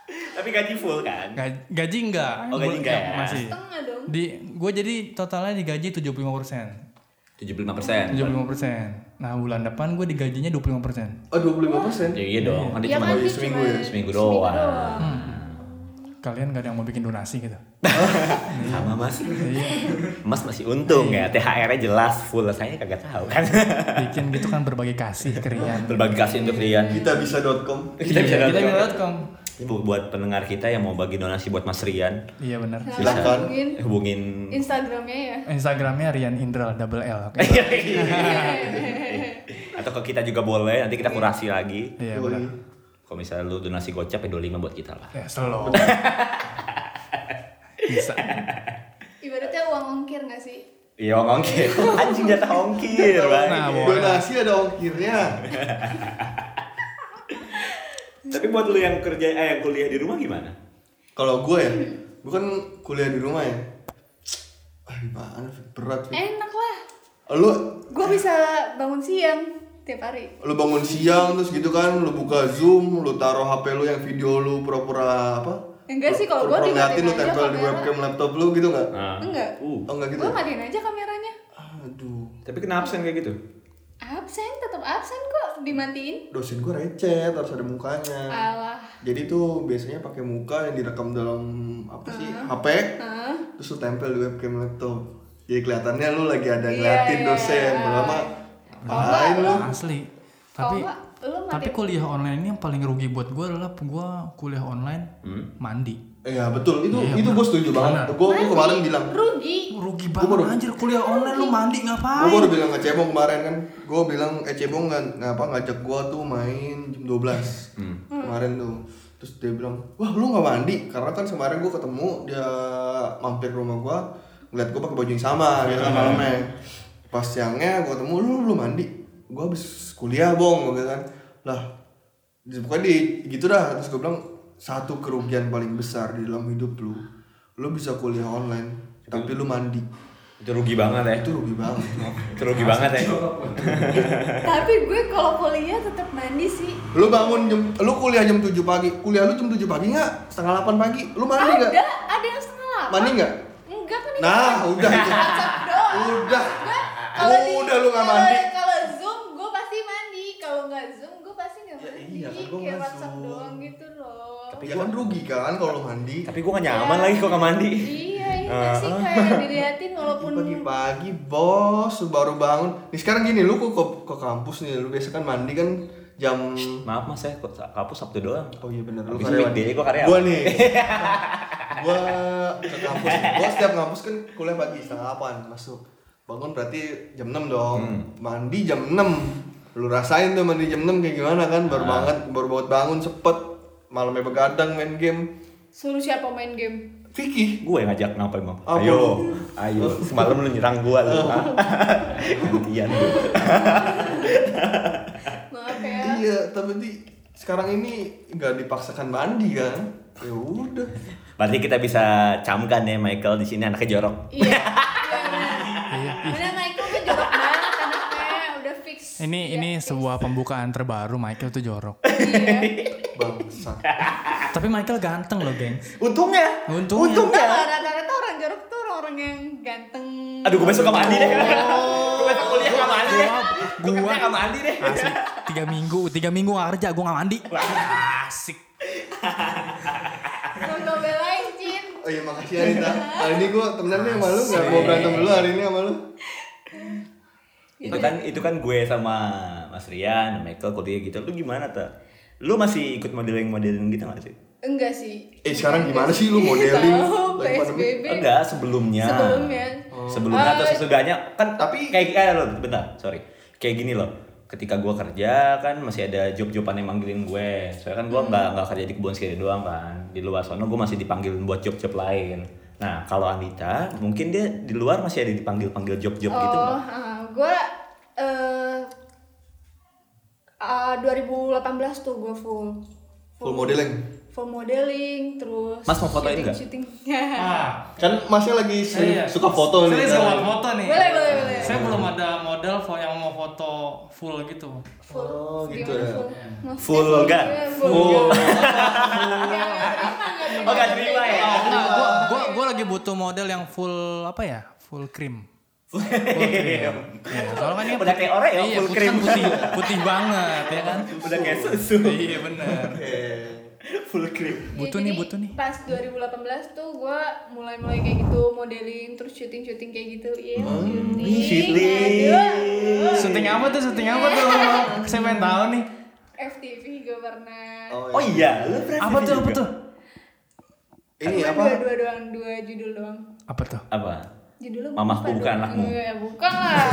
Speaker 2: Tapi gaji full kan?
Speaker 5: Gaji, gaji enggak? Iya,
Speaker 2: Oh, gaji enggak ya?
Speaker 5: Masih.
Speaker 3: Setengah dong.
Speaker 5: Di gue jadi totalnya digaji 75%. Iya.
Speaker 2: 75%.
Speaker 5: 75%. Nah, bulan depan gue digajinya 25%.
Speaker 4: oh dua puluh lima persen
Speaker 2: Ya iya dong, kan dia
Speaker 3: Ya
Speaker 2: cuma
Speaker 3: kan dia
Speaker 2: seminggu
Speaker 3: cuma
Speaker 2: ya, seminggu doang.
Speaker 5: Kalian gak ada yang mau bikin donasi gitu.
Speaker 2: Sama Mas. Mas masih untung ya, THR-nya jelas full, saya kagak tahu kan.
Speaker 5: Bikin gitu kan berbagi kasih ke Rian.
Speaker 2: Berbagi kasih untuk Rian.
Speaker 4: kita bisa.com
Speaker 2: Kita bisa
Speaker 5: Iya, kita
Speaker 2: dapet.
Speaker 5: com.
Speaker 2: Ini bu- buat pendengar kita yang mau bagi donasi buat Mas Rian,
Speaker 5: Iya benar.
Speaker 3: Nah,
Speaker 4: Silakan.
Speaker 3: hubungin
Speaker 2: eh, hubungin
Speaker 3: Instagramnya ya.
Speaker 5: Instagramnya Rian Indra double L. oke?
Speaker 2: atau ke kita juga boleh, nanti kita kurasi lagi.
Speaker 5: Iya benar.
Speaker 2: Kalau misalnya lu donasi gocap ya 25 buat kita lah.
Speaker 5: Ya slow. Bisa.
Speaker 3: Ibaratnya uang ongkir nggak sih?
Speaker 2: Iya, ongkir. Anjing jatah ongkir, Bang.
Speaker 5: Nah, boleh.
Speaker 4: donasi ada ongkirnya
Speaker 2: Tapi buat lu yang kerja eh yang kuliah di rumah gimana?
Speaker 4: Kalau gue ya, gue kan kuliah di rumah ya. Ah, gimana? Fit? Berat. Fit.
Speaker 3: Enak lah.
Speaker 4: Lu
Speaker 3: Gue bisa bangun siang tiap hari.
Speaker 4: lu bangun siang terus gitu kan, lu buka Zoom, lu taruh HP lu yang video lu pura-pura apa?
Speaker 3: Enggak sih, kalau
Speaker 4: Pura-pura
Speaker 3: gua
Speaker 4: ngeliatin lu
Speaker 3: dimatiin aja
Speaker 4: tempel di
Speaker 3: kamera.
Speaker 4: webcam laptop lu gitu nggak?
Speaker 2: Ah.
Speaker 3: Enggak.
Speaker 2: Uh.
Speaker 4: Oh nggak gitu.
Speaker 3: Gue matiin aja kameranya.
Speaker 4: Aduh.
Speaker 2: Tapi kena absen kayak gitu?
Speaker 3: Absen, tetap absen kok. dimantiin?
Speaker 4: dosen gue receh harus ada mukanya
Speaker 3: Alah.
Speaker 4: jadi tuh biasanya pakai muka yang direkam dalam apa sih HP terus lu tempel di webcam laptop jadi kelihatannya lu lagi ada
Speaker 3: Iya,
Speaker 4: ngeliatin
Speaker 3: iya,
Speaker 4: dosen
Speaker 3: iya.
Speaker 4: lama
Speaker 3: Kalau
Speaker 4: ngapain
Speaker 3: nggak,
Speaker 4: lu
Speaker 5: asli
Speaker 3: Kalau
Speaker 5: tapi
Speaker 3: nggak, lu mati.
Speaker 5: tapi kuliah online ini yang paling rugi buat gue adalah gue kuliah online
Speaker 2: Hmm?
Speaker 5: mandi
Speaker 4: iya betul itu itu gue setuju banget gue gue kemarin bilang
Speaker 3: Rugi.
Speaker 5: rugi banget anjir kuliah online lu mandi
Speaker 3: Iya.
Speaker 4: gue
Speaker 5: ngapain
Speaker 4: baru bilang ke Cebong kemarin kan gue bilang eh Cebong kan ngapa ngajak gue tuh main jam 12 kemarin tuh terus dia bilang wah lu nggak mandi karena kan kemarin gue ketemu dia mampir ke rumah gue ngeliat gue pakai baju yang sama gitu kan malamnya pas siangnya gue ketemu lu lu mandi gue habis kuliah bong gue kan lah di- pokoknya di gitu dah terus gue bilang satu kerugian paling besar di dalam hidup lu lu bisa kuliah online tapi lu mandi
Speaker 2: Itu rugi banget ya.
Speaker 4: itu rugi banget
Speaker 2: Itu rugi banget ya.
Speaker 3: tapi gue kalau kuliah tetap mandi sih.
Speaker 4: Lu bangun jam, lu kuliah jam 7 pagi. Kuliah lu jam 7 pagi nggak? Setengah 8 pagi. Lu mandi nggak?
Speaker 3: Ada, ada yang setengah delapan.
Speaker 4: Mandi nggak?
Speaker 3: Enggak kan?
Speaker 4: Nah, udah itu.
Speaker 3: WhatsApp doang.
Speaker 4: Udah.
Speaker 3: Gue kalau di-
Speaker 4: Udah lu nggak mandi.
Speaker 3: kalau- Kalau Zoom gue pasti mandi. Kalau nggak Zoom gue pasti nggak mandi.
Speaker 4: iya, kan gua
Speaker 3: Kayak
Speaker 4: nggak
Speaker 3: WhatsApp
Speaker 4: Zoom.
Speaker 3: doang gitu loh.
Speaker 4: Tapi kan rugi kan kalau lu mandi.
Speaker 2: Tapi gue gak nyaman Ya, lagi kok gak mandi. Ah,
Speaker 3: Iya, iya sih kayak diliatin walaupun
Speaker 4: Pagi-pagi bos lu baru bangun. Nih sekarang gini, lu kok ke, ke kampus nih, lu biasa kan mandi kan jam
Speaker 2: Maaf mas ya, kok kapus Sabtu doang.
Speaker 4: Oh iya bener lu
Speaker 2: Habis weekday gua karyawan.
Speaker 4: Gua nih. gua ke kampus. Gua setiap kampus kan kuliah pagi setengah 8 masuk. Bangun berarti jam 6 dong.
Speaker 2: Hmm.
Speaker 4: Mandi jam 6. Lu rasain tuh mandi jam 6 kayak gimana kan?
Speaker 2: Ah.
Speaker 4: Baru banget baru banget bangun sepet. Malamnya begadang main game.
Speaker 3: suruh siapa main game.
Speaker 4: Vicky
Speaker 2: Gue yang ngajak ngapain mau?
Speaker 4: Apa?
Speaker 2: Ayo, ayo. Semalam lu nyerang gue lu. ah. Gantian lu.
Speaker 3: Maaf ya.
Speaker 4: Iya, tapi di sekarang ini nggak dipaksakan mandi kan? Ya udah.
Speaker 2: Berarti kita bisa camkan ya Michael di sini anaknya jorok.
Speaker 3: Iya. Iya. Benar Michael tuh jorok banget anaknya, udah fix. Iya.
Speaker 5: ini
Speaker 3: Udah
Speaker 5: ini
Speaker 3: fix.
Speaker 5: sebuah pembukaan terbaru Michael tuh jorok
Speaker 3: Iya.
Speaker 4: Bangsat.
Speaker 5: tapi Michael ganteng loh gengs
Speaker 2: Untungnya.
Speaker 5: Untungnya.
Speaker 2: Untungnya.
Speaker 5: ya.
Speaker 3: Nah, Rata-rata orang jorok tuh orang yang ganteng.
Speaker 2: Aduh, gue besok gak mandi deh. Gue besok kuliah gak mandi deh. Gue
Speaker 5: Oh. Gua-
Speaker 2: kerja gak mandi deh.
Speaker 5: asik tiga minggu tiga minggu nggak kerja gue nggak mandi asik
Speaker 3: Gua gak belain Jin.
Speaker 4: Oh iya makasih Anita. Hari ini gue temenan nih sama lu nggak mau berantem dulu hari ini sama lu.
Speaker 2: itu kan itu kan gue sama Mas Rian, Michael kuliah gitu. Lu gimana tuh? Lu masih ikut modeling-modeling gitu gak sih?
Speaker 3: Enggak sih.
Speaker 4: Eh sekarang gimana sih lu modeling?
Speaker 3: Iya, Tahu,
Speaker 4: Lagi pandemi.
Speaker 3: PSBB.
Speaker 2: Enggak, sebelumnya.
Speaker 3: Iya. Sebelumnya.
Speaker 5: Oh.
Speaker 2: Sebelumnya atau
Speaker 3: Eh,
Speaker 2: sesudahnya kan
Speaker 4: tapi-
Speaker 2: kayak eh lo bentar, sorry. Kayak gini loh. Ketika gue kerja kan masih ada job-joban yang manggilin gue. Soalnya kan gue
Speaker 3: Hmm.
Speaker 2: nggak nggak kerja di kebun sendiri doang kan. Di luar sana gue masih dipanggilin buat job-job lain. Nah kalau Anita mungkin dia di luar masih ada dipanggil-panggil job-job gitu
Speaker 3: Oh,
Speaker 2: nggak?
Speaker 3: ah, gue eh ah, 2018 tuh gue full
Speaker 4: Full modeling.
Speaker 3: full modeling terus
Speaker 2: Mas, mau fotoin
Speaker 3: shooting-
Speaker 2: nggak?
Speaker 3: shooting
Speaker 5: Ah,
Speaker 4: Kan masnya lagi sering
Speaker 5: Iya.
Speaker 4: suka foto nih. kan?
Speaker 5: Saya suka foto nih.
Speaker 3: Boleh, boleh, boleh.
Speaker 5: Saya belum ada model fo- yang mau foto full gitu.
Speaker 3: full
Speaker 4: Oh, gitu
Speaker 3: gimana
Speaker 4: ya.
Speaker 3: full? Maksudnya
Speaker 2: Full vulgar.
Speaker 3: gimana?
Speaker 4: Full.
Speaker 3: Nggak, nggak terima,
Speaker 2: Oh, nggak terima
Speaker 3: Iya.
Speaker 2: ya?
Speaker 5: Oh, enggak, gua, gua, gua lagi butuh model yang full apa ya? Full cream. Full cream. Iya, soalnya kan ini
Speaker 2: Udah kayak Oreo,
Speaker 5: iya,
Speaker 2: full
Speaker 5: putih-
Speaker 2: cream.
Speaker 5: Putih, putih banget ya kan?
Speaker 2: Udah kayak susu.
Speaker 5: Iya benar.
Speaker 2: Full cream.
Speaker 3: Ya,
Speaker 5: Butuh
Speaker 3: jadi
Speaker 5: nih, butuh nih.
Speaker 3: Pas 2018 tuh gue mulai-mulai kayak gitu modeling terus syuting-syuting kayak gitu. Iya,
Speaker 2: Hmm.
Speaker 3: syuting.
Speaker 2: syuting.
Speaker 3: Aduh, aduh.
Speaker 5: Syuting apa tuh? Syuting apa tuh? Saya pengen tahu nih.
Speaker 3: FTV gue pernah.
Speaker 2: Oh iya, lu berarti
Speaker 5: Apa tuh? Apa
Speaker 2: juga.
Speaker 5: tuh?
Speaker 4: Ini
Speaker 3: Cuman
Speaker 4: apa?
Speaker 3: Dua, dua kan doang, dua judul doang.
Speaker 5: Apa tuh?
Speaker 2: Apa?
Speaker 3: Judulnya
Speaker 2: Mamahku
Speaker 3: apa
Speaker 2: bukan
Speaker 3: dong?
Speaker 2: anakmu.
Speaker 3: Iya, bukan lah.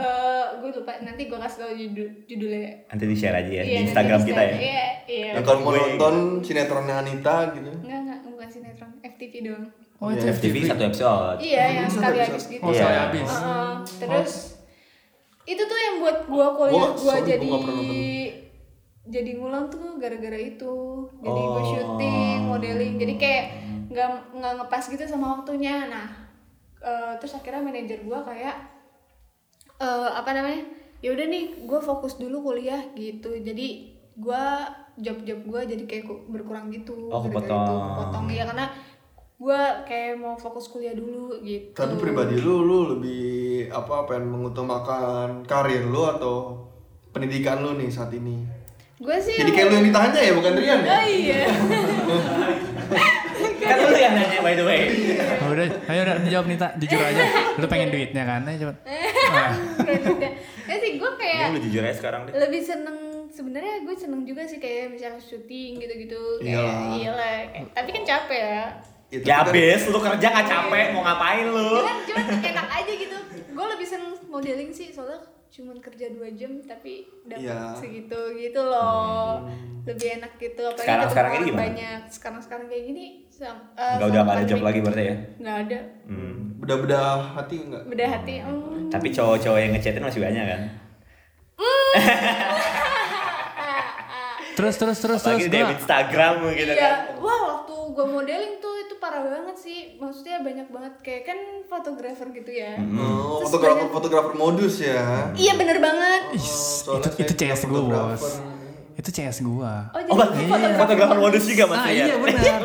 Speaker 3: Eh, gue lupa nanti gue kasih tau judul judulnya.
Speaker 2: Nanti di share aja ya
Speaker 3: Iya,
Speaker 2: di
Speaker 3: nanti
Speaker 2: Instagram
Speaker 3: di
Speaker 2: kita ya.
Speaker 3: share. Iya, iya.
Speaker 4: Yang kalau mau
Speaker 2: Gue-
Speaker 4: nonton sinetronnya Anita gitu.
Speaker 3: Enggak, enggak, bukan sinetron, FTV doang.
Speaker 5: Oh itu
Speaker 2: FTV satu episode.
Speaker 3: Iya, yang sekali habis gitu.
Speaker 5: Oh,
Speaker 2: Iya.
Speaker 5: saya habis.
Speaker 3: Heeh, terus itu tuh yang buat gua kuliah
Speaker 4: Gua-
Speaker 3: gua
Speaker 4: sorry,
Speaker 3: jadi
Speaker 4: gua nggak pernah nonton.
Speaker 3: jadi ngulang tuh gara-gara itu. Jadi
Speaker 4: Oh.
Speaker 3: gua syuting, modeling. Jadi kayak
Speaker 4: Hmm.
Speaker 3: nggak nggak ngepas gitu sama waktunya. Nah, eh, terus akhirnya manajer gua kayak eh, apa namanya? Ya udah nih, gua fokus dulu kuliah gitu. Jadi gua job-job gua jadi kayak ku- berkurang gitu.
Speaker 2: Oh,
Speaker 3: gara-gara itu.
Speaker 2: kepotong.
Speaker 3: Kepotong. ya karena gue gue kayak mau fokus kuliah dulu gitu
Speaker 4: Tapi pribadi lu, lu lebih apa pengen mengutamakan karir lu atau pendidikan lu nih saat ini?
Speaker 3: gue sih
Speaker 4: Jadi kayak lu yang ditanya ya, bukan Rian ya?
Speaker 3: Ah, iya
Speaker 2: kan lu yang nanya by the way
Speaker 5: Ah, udah, ayo udah dijawab Nita, jujur aja. Lu pengen duitnya kan? Ayo cepet. Ah.
Speaker 3: produknya ya sih gue kayak
Speaker 2: Ini lu jujur aja sekarang deh
Speaker 3: lebih seneng sebenarnya gue seneng juga sih kayak misalnya syuting gitu-gitu kayak
Speaker 4: Iyalah.
Speaker 3: iyalah kayak, tapi kan capek ya
Speaker 4: Itu
Speaker 2: ya
Speaker 4: kan-
Speaker 2: abis lu kerja gak capek mau ngapain lu
Speaker 4: Oh.
Speaker 3: cuman cuman enak aja gitu gue lebih seneng modeling sih soalnya cuman kerja dua jam tapi dapat
Speaker 4: Iya. Hmm.
Speaker 3: segitu gitu loh lebih enak gitu apalagi
Speaker 2: Sekarang-
Speaker 3: ketemu
Speaker 2: sekarang ini
Speaker 3: orang
Speaker 2: gimana?
Speaker 3: banyak sekarang sekarang kayak gini sam- eh,
Speaker 2: nggak
Speaker 3: sama
Speaker 2: udah gak ada job
Speaker 3: pandemi.
Speaker 2: lagi berarti ya
Speaker 3: nggak ada
Speaker 2: hmm.
Speaker 4: Bedah-bedah hati enggak?
Speaker 3: beda hati
Speaker 4: Hmm.
Speaker 3: mm.
Speaker 2: tapi cowok-cowok yang ngechatin masih banyak kan
Speaker 5: Terus terus terus terus
Speaker 2: apalagi di
Speaker 5: gua.
Speaker 2: Instagram gitu kan
Speaker 3: Iya, wah waktu gue modeling tuh itu parah banget sih. Maksudnya banyak banget kayak kan fotografer gitu ya.
Speaker 2: Hmm.
Speaker 4: Oh,
Speaker 3: Terus
Speaker 4: fotografer
Speaker 3: banyak-
Speaker 4: fotografer modus ya.
Speaker 3: Iya bener banget.
Speaker 5: Ih,
Speaker 4: soalnya
Speaker 5: itu itu
Speaker 4: saya
Speaker 5: CS gua, Bos.
Speaker 4: fotografer.
Speaker 5: Itu CS gua.
Speaker 3: Oh jadi
Speaker 2: oh berarti
Speaker 3: fotografer
Speaker 2: fotografer modus juga mas
Speaker 5: Ah
Speaker 2: ya kan?
Speaker 5: iya benar.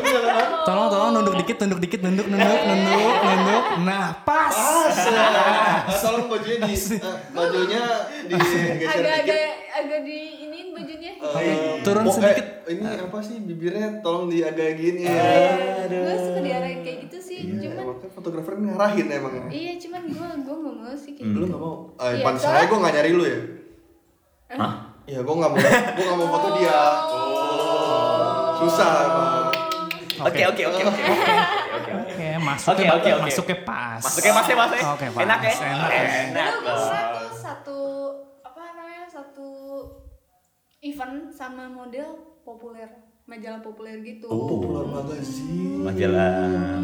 Speaker 5: Tolong tolong nunduk dikit, nunduk dikit, nunduk, nunduk, nunduk, nunduk. Nah, pas.
Speaker 4: Ah, tolong bajunya di eh, bajunya digeser
Speaker 3: agak
Speaker 4: dikit.
Speaker 3: agak agak di iniin bajunya. Iya.
Speaker 5: iya.
Speaker 4: Eh,
Speaker 5: Turun
Speaker 4: bo- eh,
Speaker 5: sedikit.
Speaker 4: ini apa sih bibirnya tolong di agak gini ya.
Speaker 3: Gue suka diarahin kayak gitu sih.
Speaker 4: Ya,
Speaker 3: Cuman
Speaker 4: makanya fotografer ngarahin emang. ya.
Speaker 3: iya cuman gue gue nggak mau sih kayak
Speaker 4: Lu
Speaker 3: gitu.
Speaker 4: nggak mau? Eh,
Speaker 3: Iya,
Speaker 4: pantesan
Speaker 3: soalnya-
Speaker 4: aja gue nggak nyari lu ya.
Speaker 2: Hah?
Speaker 4: Ya gue nggak mau, gue nggak mau foto dia. Susah emang.
Speaker 2: oke oke oke oke oke oke
Speaker 5: Oke, masuknya
Speaker 2: Oke, oke, oke.
Speaker 5: masuknya pas.
Speaker 2: Masuknya mas ya mas ya.
Speaker 5: Oke, pas.
Speaker 2: Enak ya.
Speaker 5: Enak.
Speaker 2: Enak.
Speaker 3: Dulu gue pernah tuh satu apa namanya satu event sama model populer majalah populer gitu.
Speaker 2: Oh.
Speaker 4: Popular magazine.
Speaker 2: Majalah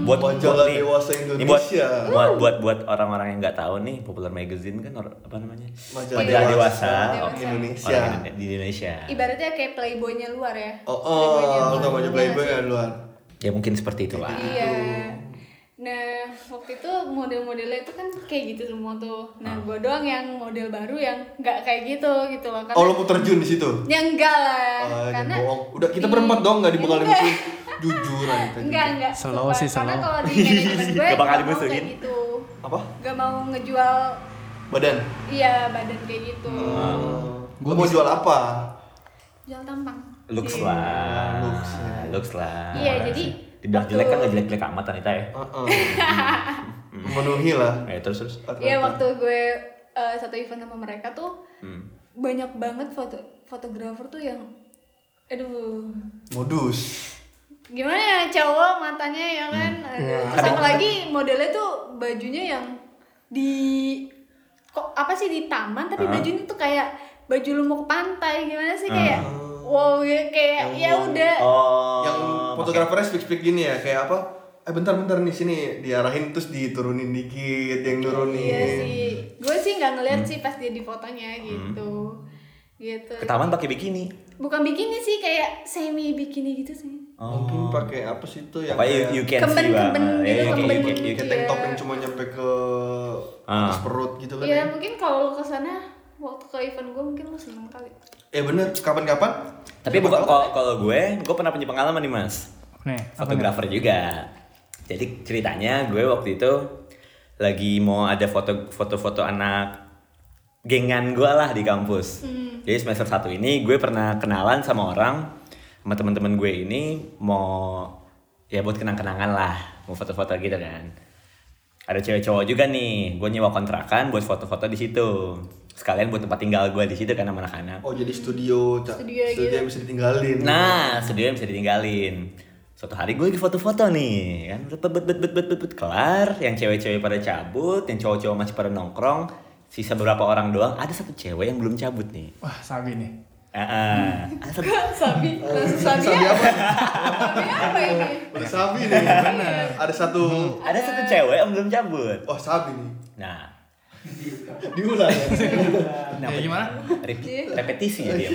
Speaker 2: buat
Speaker 4: Hmm. Majalah
Speaker 2: buat nih.
Speaker 4: dewasa
Speaker 2: Ini buat,
Speaker 4: Indonesia.
Speaker 2: buat buat buat orang-orang yang nggak tahu nih, Popular Magazine kan or- apa namanya?
Speaker 4: Majalah
Speaker 2: Majalah dewasa,
Speaker 4: dewasa.
Speaker 3: Dewasa.
Speaker 2: oke.
Speaker 4: Indonesia.
Speaker 2: Orang Indo- di Indonesia.
Speaker 3: Ibaratnya kayak playboynya luar ya.
Speaker 4: Oh,
Speaker 3: Playboy-nya
Speaker 4: oh,
Speaker 3: luar.
Speaker 4: namanya
Speaker 3: Iya
Speaker 4: Playboy
Speaker 3: sih.
Speaker 4: ya luar.
Speaker 2: Ya mungkin seperti itulah.
Speaker 3: Iya. Nah, waktu itu model-modelnya itu kan kayak gitu semua tuh. Nah,
Speaker 4: Ah.
Speaker 3: gue doang yang model baru yang nggak kayak gitu gitu loh. Karena
Speaker 4: Oh, lo mau terjun di situ?
Speaker 3: Ya enggak lah.
Speaker 4: Ah, jangan
Speaker 3: karena
Speaker 4: bohong. Udah kita
Speaker 3: di-
Speaker 4: berempat dong nggak dibekalin
Speaker 3: Enggak.
Speaker 4: itu. Jujur aja. kita.
Speaker 3: Enggak, enggak.
Speaker 5: Slow
Speaker 3: Sumpah.
Speaker 5: sih,
Speaker 3: Karena
Speaker 5: slow.
Speaker 3: kalau di manajemen
Speaker 2: Gak
Speaker 3: gue
Speaker 2: bakal
Speaker 3: nggak mau
Speaker 2: dimusuhin.
Speaker 3: kayak gitu.
Speaker 4: Apa?
Speaker 3: Gak mau ngejual
Speaker 4: Badan.
Speaker 3: iya badan kayak gitu.
Speaker 4: Hmm. Gue mau jual apa?
Speaker 3: Jual tampang.
Speaker 2: Looks
Speaker 3: Iya.
Speaker 2: lah.
Speaker 4: Looks ya.
Speaker 2: Looks lah.
Speaker 3: Iya,
Speaker 2: Orang
Speaker 3: jadi
Speaker 2: sih. dibilang
Speaker 3: waktu-
Speaker 2: jelek kan nggak jelek-jelek amat Anita ya.
Speaker 4: Heeh. Memenuhi lah.
Speaker 2: Eh terus terus.
Speaker 3: Iya, waktu gue eh, satu event sama mereka tuh
Speaker 2: Hmm.
Speaker 3: banyak banget foto fotografer tuh yang aduh
Speaker 4: Modus.
Speaker 3: gimana ya cowok matanya ya kan aduh. terus
Speaker 2: Tapi-
Speaker 3: apalagi modelnya tuh bajunya yang di kok apa sih di taman tapi
Speaker 2: Ah.
Speaker 3: bajunya tuh kayak baju lu mau ke pantai gimana sih kayak wow ya kayak ya udah
Speaker 2: Oh.
Speaker 4: Yang fotografernya speak-speak gini ya, kayak apa? Eh bentar-bentar nih sini diarahin terus diturunin dikit, yang nurunin.
Speaker 3: iya sih gue sih nggak ngeliat sih pas dia di fotonya gitu gitu
Speaker 2: Ke taman pakai bikini.
Speaker 3: bukan bikini sih kayak semi bikini gitu sih
Speaker 4: Mungkin pakai apa sih itu yang
Speaker 2: Apa you,
Speaker 4: kayak-
Speaker 2: you can
Speaker 3: Kemben-
Speaker 2: see
Speaker 3: kemben
Speaker 2: Bang. Eh, you
Speaker 3: gitu,
Speaker 2: can- you
Speaker 3: kemben
Speaker 2: can- you
Speaker 4: kayak
Speaker 2: can-
Speaker 4: tank top
Speaker 3: Iya.
Speaker 4: yang cuma nyampe ke
Speaker 2: Ah.
Speaker 4: atas perut gitu kan.
Speaker 3: ya mungkin kalau lu kesana waktu ke event gue mungkin lu seneng kali
Speaker 4: Ya Eh bener, kapan-kapan?
Speaker 2: Tapi bukan kalau kalau gue, gue pernah punya pengalaman nih mas.
Speaker 5: Nih, apa nih?
Speaker 2: fotografer juga. Jadi ceritanya gue waktu itu lagi mau ada foto foto-foto anak gengan gue lah di kampus. Jadi semester satu ini gue pernah kenalan sama orang sama teman-teman gue ini mau ya buat kenang-kenangan lah, mau foto-foto gitu kan. Ada cewek cowok juga nih, gue nyewa kontrakan buat foto-foto di situ. Sekalian buat tempat tinggal gue di situ kan sama anak-anak.
Speaker 4: Oh jadi studio, Cak.
Speaker 3: Studio gitu.
Speaker 4: yang bisa ditinggalin.
Speaker 2: Nah, studio yang bisa ditinggalin. Suatu hari gue lagi foto-foto nih, kan bet bet bet bet bet bet, bet. kelar, yang cewek-cewek pada cabut, yang cowok-cowok masih pada nongkrong, sisa beberapa orang doang, ada satu cewek yang belum cabut nih.
Speaker 5: Wah, sabi nih.
Speaker 2: Eh, eh, ada satu-
Speaker 3: sabi langsung sabi
Speaker 4: Sabi
Speaker 3: ya
Speaker 4: apa?
Speaker 3: sabi apa ini
Speaker 4: Udah sabi nih. Ada satu
Speaker 2: ada satu cewek yang belum cabut.
Speaker 4: Oh sabi nih.
Speaker 2: Nah,
Speaker 4: Diulang ya.
Speaker 5: Ya gimana?
Speaker 2: Rep- repetisi ya dia.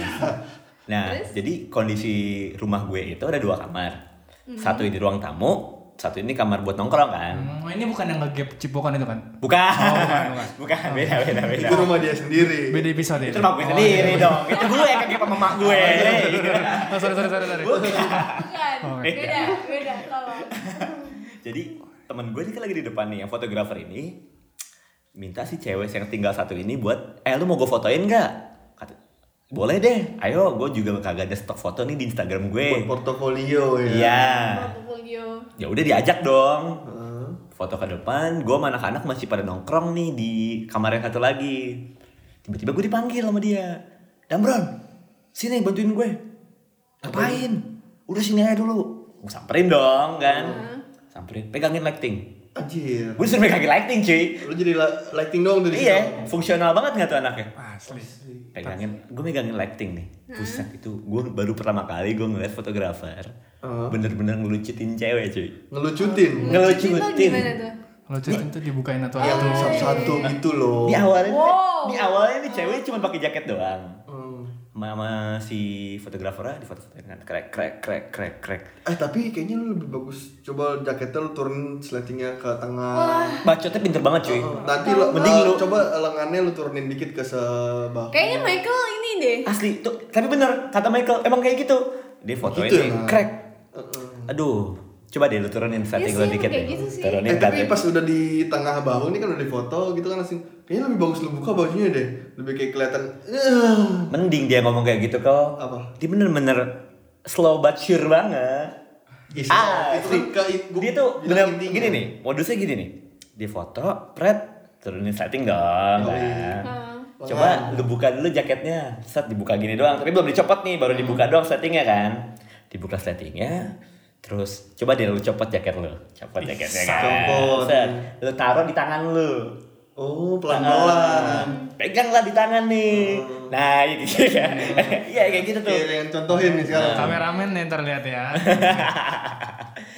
Speaker 2: Nah, jadi kondisi rumah gue itu ada dua kamar. Satu di ruang tamu, satu ini kamar buat nongkrong kan.
Speaker 5: Hmm, ini bukan yang ngegap cipokan itu kan?
Speaker 2: Bukan.
Speaker 5: bukan, bukan.
Speaker 2: bukan, beda beda beda.
Speaker 4: Itu rumah dia sendiri.
Speaker 5: Beda episode itu.
Speaker 2: Itu mak gue sendiri dong. Itu gue yang kagak sama mak gue.
Speaker 3: Iya,
Speaker 5: Oh, sorry, sorry, sorry, sorry.
Speaker 3: bukan beda beda tolong
Speaker 2: Jadi temen gue ini kan lagi di depan nih, yang fotografer ini minta si cewek yang tinggal satu ini buat, eh lu mau gue fotoin nggak? Kata, boleh deh, ayo gue juga kagak ada stok foto nih di Instagram
Speaker 4: Buat
Speaker 2: gue.
Speaker 4: portofolio ya.
Speaker 2: Iya.
Speaker 3: portfolio
Speaker 2: Ya udah diajak dong.
Speaker 4: Heeh.
Speaker 2: Foto ke depan, gue sama anak-anak masih pada nongkrong nih di kamar yang satu lagi. Tiba-tiba gue dipanggil sama dia. Damron, sini bantuin gue. Ngapain? Udah sini aja dulu. Gue samperin dong kan. Samperin, pegangin lighting.
Speaker 4: Anjir.
Speaker 2: Gue disuruh pegang lighting cuy
Speaker 4: Lu jadi la- lighting dong dari
Speaker 2: Iya, fungsional banget gak tuh anaknya
Speaker 5: Asli.
Speaker 2: Pegangin, gue megangin lighting nih Buset, itu gue baru pertama kali gue ngeliat fotografer
Speaker 4: Heeh.
Speaker 2: Bener-bener ngelucutin cewek cuy
Speaker 4: Ngelucutin.
Speaker 3: Cinta
Speaker 2: Ngelucutin
Speaker 3: gimana tuh
Speaker 5: Kalau cewek itu dibukain atau
Speaker 4: Yang
Speaker 5: atau-
Speaker 2: Oh.
Speaker 4: satu-satu gitu loh.
Speaker 2: Di awalnya,
Speaker 3: Wow.
Speaker 2: di awalnya nih cewek cuma pakai jaket doang
Speaker 4: Hmm.
Speaker 2: Mama si fotografernya di foto dengan krek krek krek krek krek
Speaker 4: Eh tapi kayaknya lu lebih bagus coba jaketnya lu turun sletingnya ke tengah.
Speaker 2: Bacotnya pinter banget cuy
Speaker 4: Nanti lu
Speaker 2: Mending
Speaker 4: eh,
Speaker 2: lu
Speaker 4: coba lengannya lu turunin dikit ke sebah.
Speaker 3: kayaknya Michael ini deh
Speaker 4: oh.
Speaker 2: Asli, tuh, tapi bener, kata Michael, emang kayak gitu Dia fotoin
Speaker 4: Gitu
Speaker 2: nih,
Speaker 4: emang.
Speaker 2: krek
Speaker 4: Heeh.
Speaker 2: Aduh, coba deh lu turunin setting
Speaker 3: Iya
Speaker 2: lu
Speaker 3: sih,
Speaker 2: dikit
Speaker 3: kayak
Speaker 2: deh.
Speaker 3: gitu sih.
Speaker 2: Turunin
Speaker 4: Eh
Speaker 2: setting.
Speaker 4: tapi pas udah di tengah bahu ini kan udah difoto gitu kan langsung kayaknya lebih bagus lu buka bajunya deh. Lebih kayak kelihatan eh,
Speaker 2: Mending dia ngomong kayak gitu kok.
Speaker 4: Apa?
Speaker 2: Dia bener-bener slow but sure banget.
Speaker 4: Yes,
Speaker 2: ah,
Speaker 4: itu
Speaker 2: sih.
Speaker 4: kan ke- gua
Speaker 2: dia tuh bener,
Speaker 4: bilang intinya.
Speaker 2: gini nih, modusnya gini nih. Dia foto, pret, turunin setting dong.
Speaker 4: Oh,
Speaker 2: kan.
Speaker 4: iya.
Speaker 3: Heeh.
Speaker 2: Coba lu buka dulu jaketnya. Set dibuka gini doang, tapi belum dicopot nih,
Speaker 4: Hmm.
Speaker 2: baru dibuka doang settingnya kan. Dibuka settingnya, terus coba deh lu copot jaket lu. Copot jaketnya kan.
Speaker 4: copot.
Speaker 2: Set, lu taruh di tangan lu.
Speaker 4: Oh, pelan-pelan.
Speaker 2: Peganglah di tangan nih.
Speaker 4: Oh.
Speaker 2: Nah, itu juga.
Speaker 4: Hmm.
Speaker 2: Iya, kayak gitu tuh.
Speaker 4: Kayak yang contohin nih sekarang.
Speaker 2: Nah.
Speaker 5: Kameramen nih ntar lihat ya.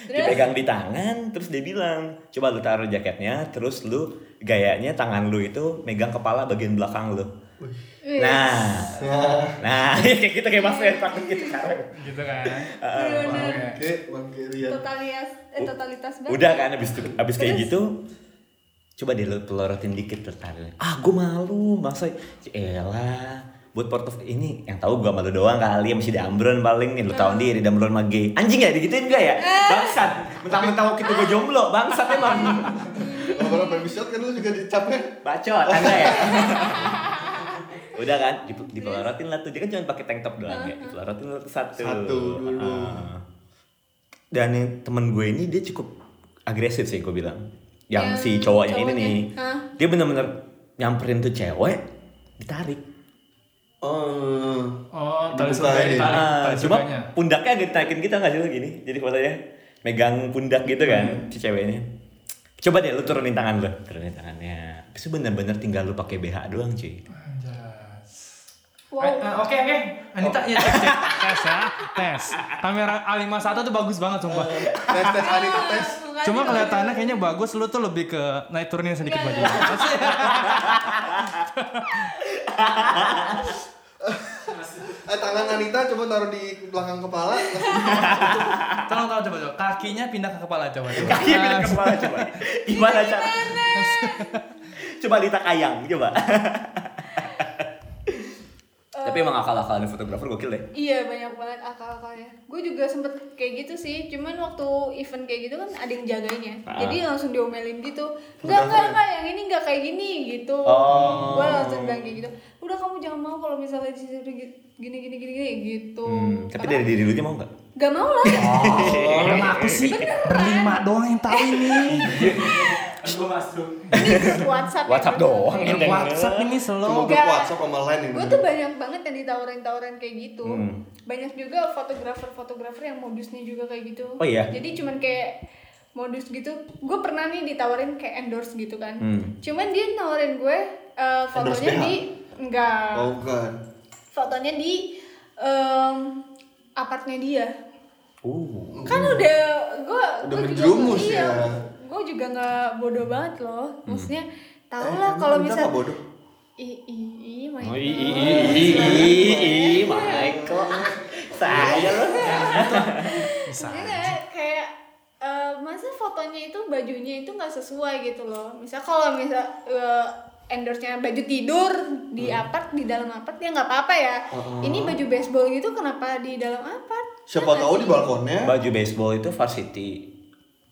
Speaker 3: Terus?
Speaker 2: Dipegang di tangan, terus dia bilang, "Coba lu taruh jaketnya, terus lu gayanya tangan lu itu megang kepala bagian belakang lu."
Speaker 3: Wih.
Speaker 2: Nah.
Speaker 4: Nah,
Speaker 2: Nah, kayak gitu kayak Mas Fer takut gitu sekarang.
Speaker 5: gitu kan.
Speaker 2: Ah,
Speaker 3: Bener-bener
Speaker 5: Oke.
Speaker 4: oke, ya. bangke lihat.
Speaker 3: totalitas eh totalitas banget
Speaker 2: Oh. Udah kan abis itu abis kayak gitu coba deh lu pelorotin dikit tertarik. Ah, gue malu, masa elah buat portof ini yang tahu gua malu doang kali masih Damron paling nih lu tahu
Speaker 3: Ah.
Speaker 2: diri Damron mah gay. Anjing ya digituin gak ya? Bangsat. Mentang-mentang waktu itu gua jomblo, bangsat emang.
Speaker 4: Orang-orang baby shot kan lu juga dicapnya.
Speaker 2: Bacot, enggak ya? Udah kan, dip- dipelorotin lah tuh. Dia kan cuma pakai tank top doang ya. Dipelorotin lah tuh satu.
Speaker 4: Satu dulu.
Speaker 2: Ah. Dan yang temen gue ini dia cukup agresif sih gue bilang. Yang
Speaker 3: Yang
Speaker 2: si cowoknya, ini
Speaker 3: cowoknya.
Speaker 2: nih.
Speaker 3: Hah?
Speaker 2: Dia bener-bener nyamperin tuh cewek, ditarik.
Speaker 4: Oh.
Speaker 5: Oh, tali
Speaker 4: Dibukain.
Speaker 5: surga ditarik,
Speaker 2: Ah,
Speaker 5: tali
Speaker 2: cuma
Speaker 5: surganya.
Speaker 2: pundaknya agak ditaikin kita nggak sih lu gini? Jadi fotonya megang pundak gitu kan si ceweknya. Coba deh lu turunin tangan lu, turunin tangannya. Habis itu bener-bener tinggal lu pakai BH doang cuy.
Speaker 5: Anjas.
Speaker 3: wow
Speaker 5: Eh, eh, Oke oke. Anita ya cek cek tes ya tes. Kamera A51 tuh bagus banget sumpah.
Speaker 2: Eh.
Speaker 4: Tes tes Anita tes.
Speaker 3: Makanya
Speaker 5: Cuma
Speaker 3: kalau-
Speaker 5: kelihatannya kayaknya bagus lu tuh lebih ke naik turunin
Speaker 3: Iya,
Speaker 5: sedikit baju.
Speaker 4: Eh tangan Anita coba taruh di belakang kepala.
Speaker 5: Tolong tolong coba coba. Kakinya pindah ke kepala coba coba.
Speaker 2: Kaki pindah ke kepala coba. Gimana cara? coba Lita Kayang coba. Tapi emang akal-akalan fotografer gokil deh.
Speaker 3: Iya banyak banget akal-akalnya. Gue juga sempet kayak gitu sih. Cuman waktu event kayak gitu kan ada yang jagainya.
Speaker 2: Ah.
Speaker 3: Jadi langsung diomelin gitu. Enggak enggak enggak yang ini enggak kayak gini gitu.
Speaker 2: Oh.
Speaker 3: Gue langsung bilang kayak gitu. Udah kamu jangan mau kalau misalnya disuruh gi- gini gini gini, gini gitu.
Speaker 2: Hmm, tapi dari diri lu aja mau nggak?
Speaker 3: Gak mau lah.
Speaker 5: Orang
Speaker 2: Iya.
Speaker 5: aku sih berlima doang yang tahu ini.
Speaker 3: Ini grup WhatsApp. ya,
Speaker 2: WhatsApp
Speaker 3: grup
Speaker 2: doang.
Speaker 5: Grup WhatsApp ini
Speaker 2: Iya.
Speaker 4: Cuma
Speaker 5: slow.
Speaker 4: grup WhatsApp sama lain ini.
Speaker 3: Gue tuh banyak banget yang ditawarin-tawarin kayak gitu.
Speaker 4: Hmm.
Speaker 3: Banyak juga fotografer-fotografer yang modusnya juga kayak gitu.
Speaker 2: Oh iya?
Speaker 3: Jadi cuman kayak modus gitu. Gue pernah nih ditawarin kayak endorse gitu kan.
Speaker 4: Hmm.
Speaker 3: Cuman dia nawarin gue eh, fotonya
Speaker 4: BH?
Speaker 3: di enggak.
Speaker 4: Oh kan.
Speaker 3: Fotonya di em, apartnya dia.
Speaker 2: Uh,
Speaker 3: Kan udah gue
Speaker 4: Hmm. Udah menjerumus ya. Hmm.
Speaker 3: Gue iya, juga nggak bodoh banget loh. Maksudnya tau lah kalau
Speaker 4: Eh, kan Anita nggak
Speaker 3: misal
Speaker 4: bodoh.
Speaker 3: I i i my
Speaker 2: oh,
Speaker 3: God.
Speaker 2: i i i i i i Michael, saya loh.
Speaker 3: Maksudnya Iya, kayak eh, masa fotonya itu bajunya itu nggak sesuai gitu loh. Misal kalau misal eh, endorse-nya baju tidur di
Speaker 2: Hmm.
Speaker 3: apart di dalam apart ya nggak apa-apa ya.
Speaker 2: Oh.
Speaker 3: Ini baju baseball gitu kenapa di dalam apart?
Speaker 4: Siapa tahu di balkonnya.
Speaker 2: Baju baseball itu varsity.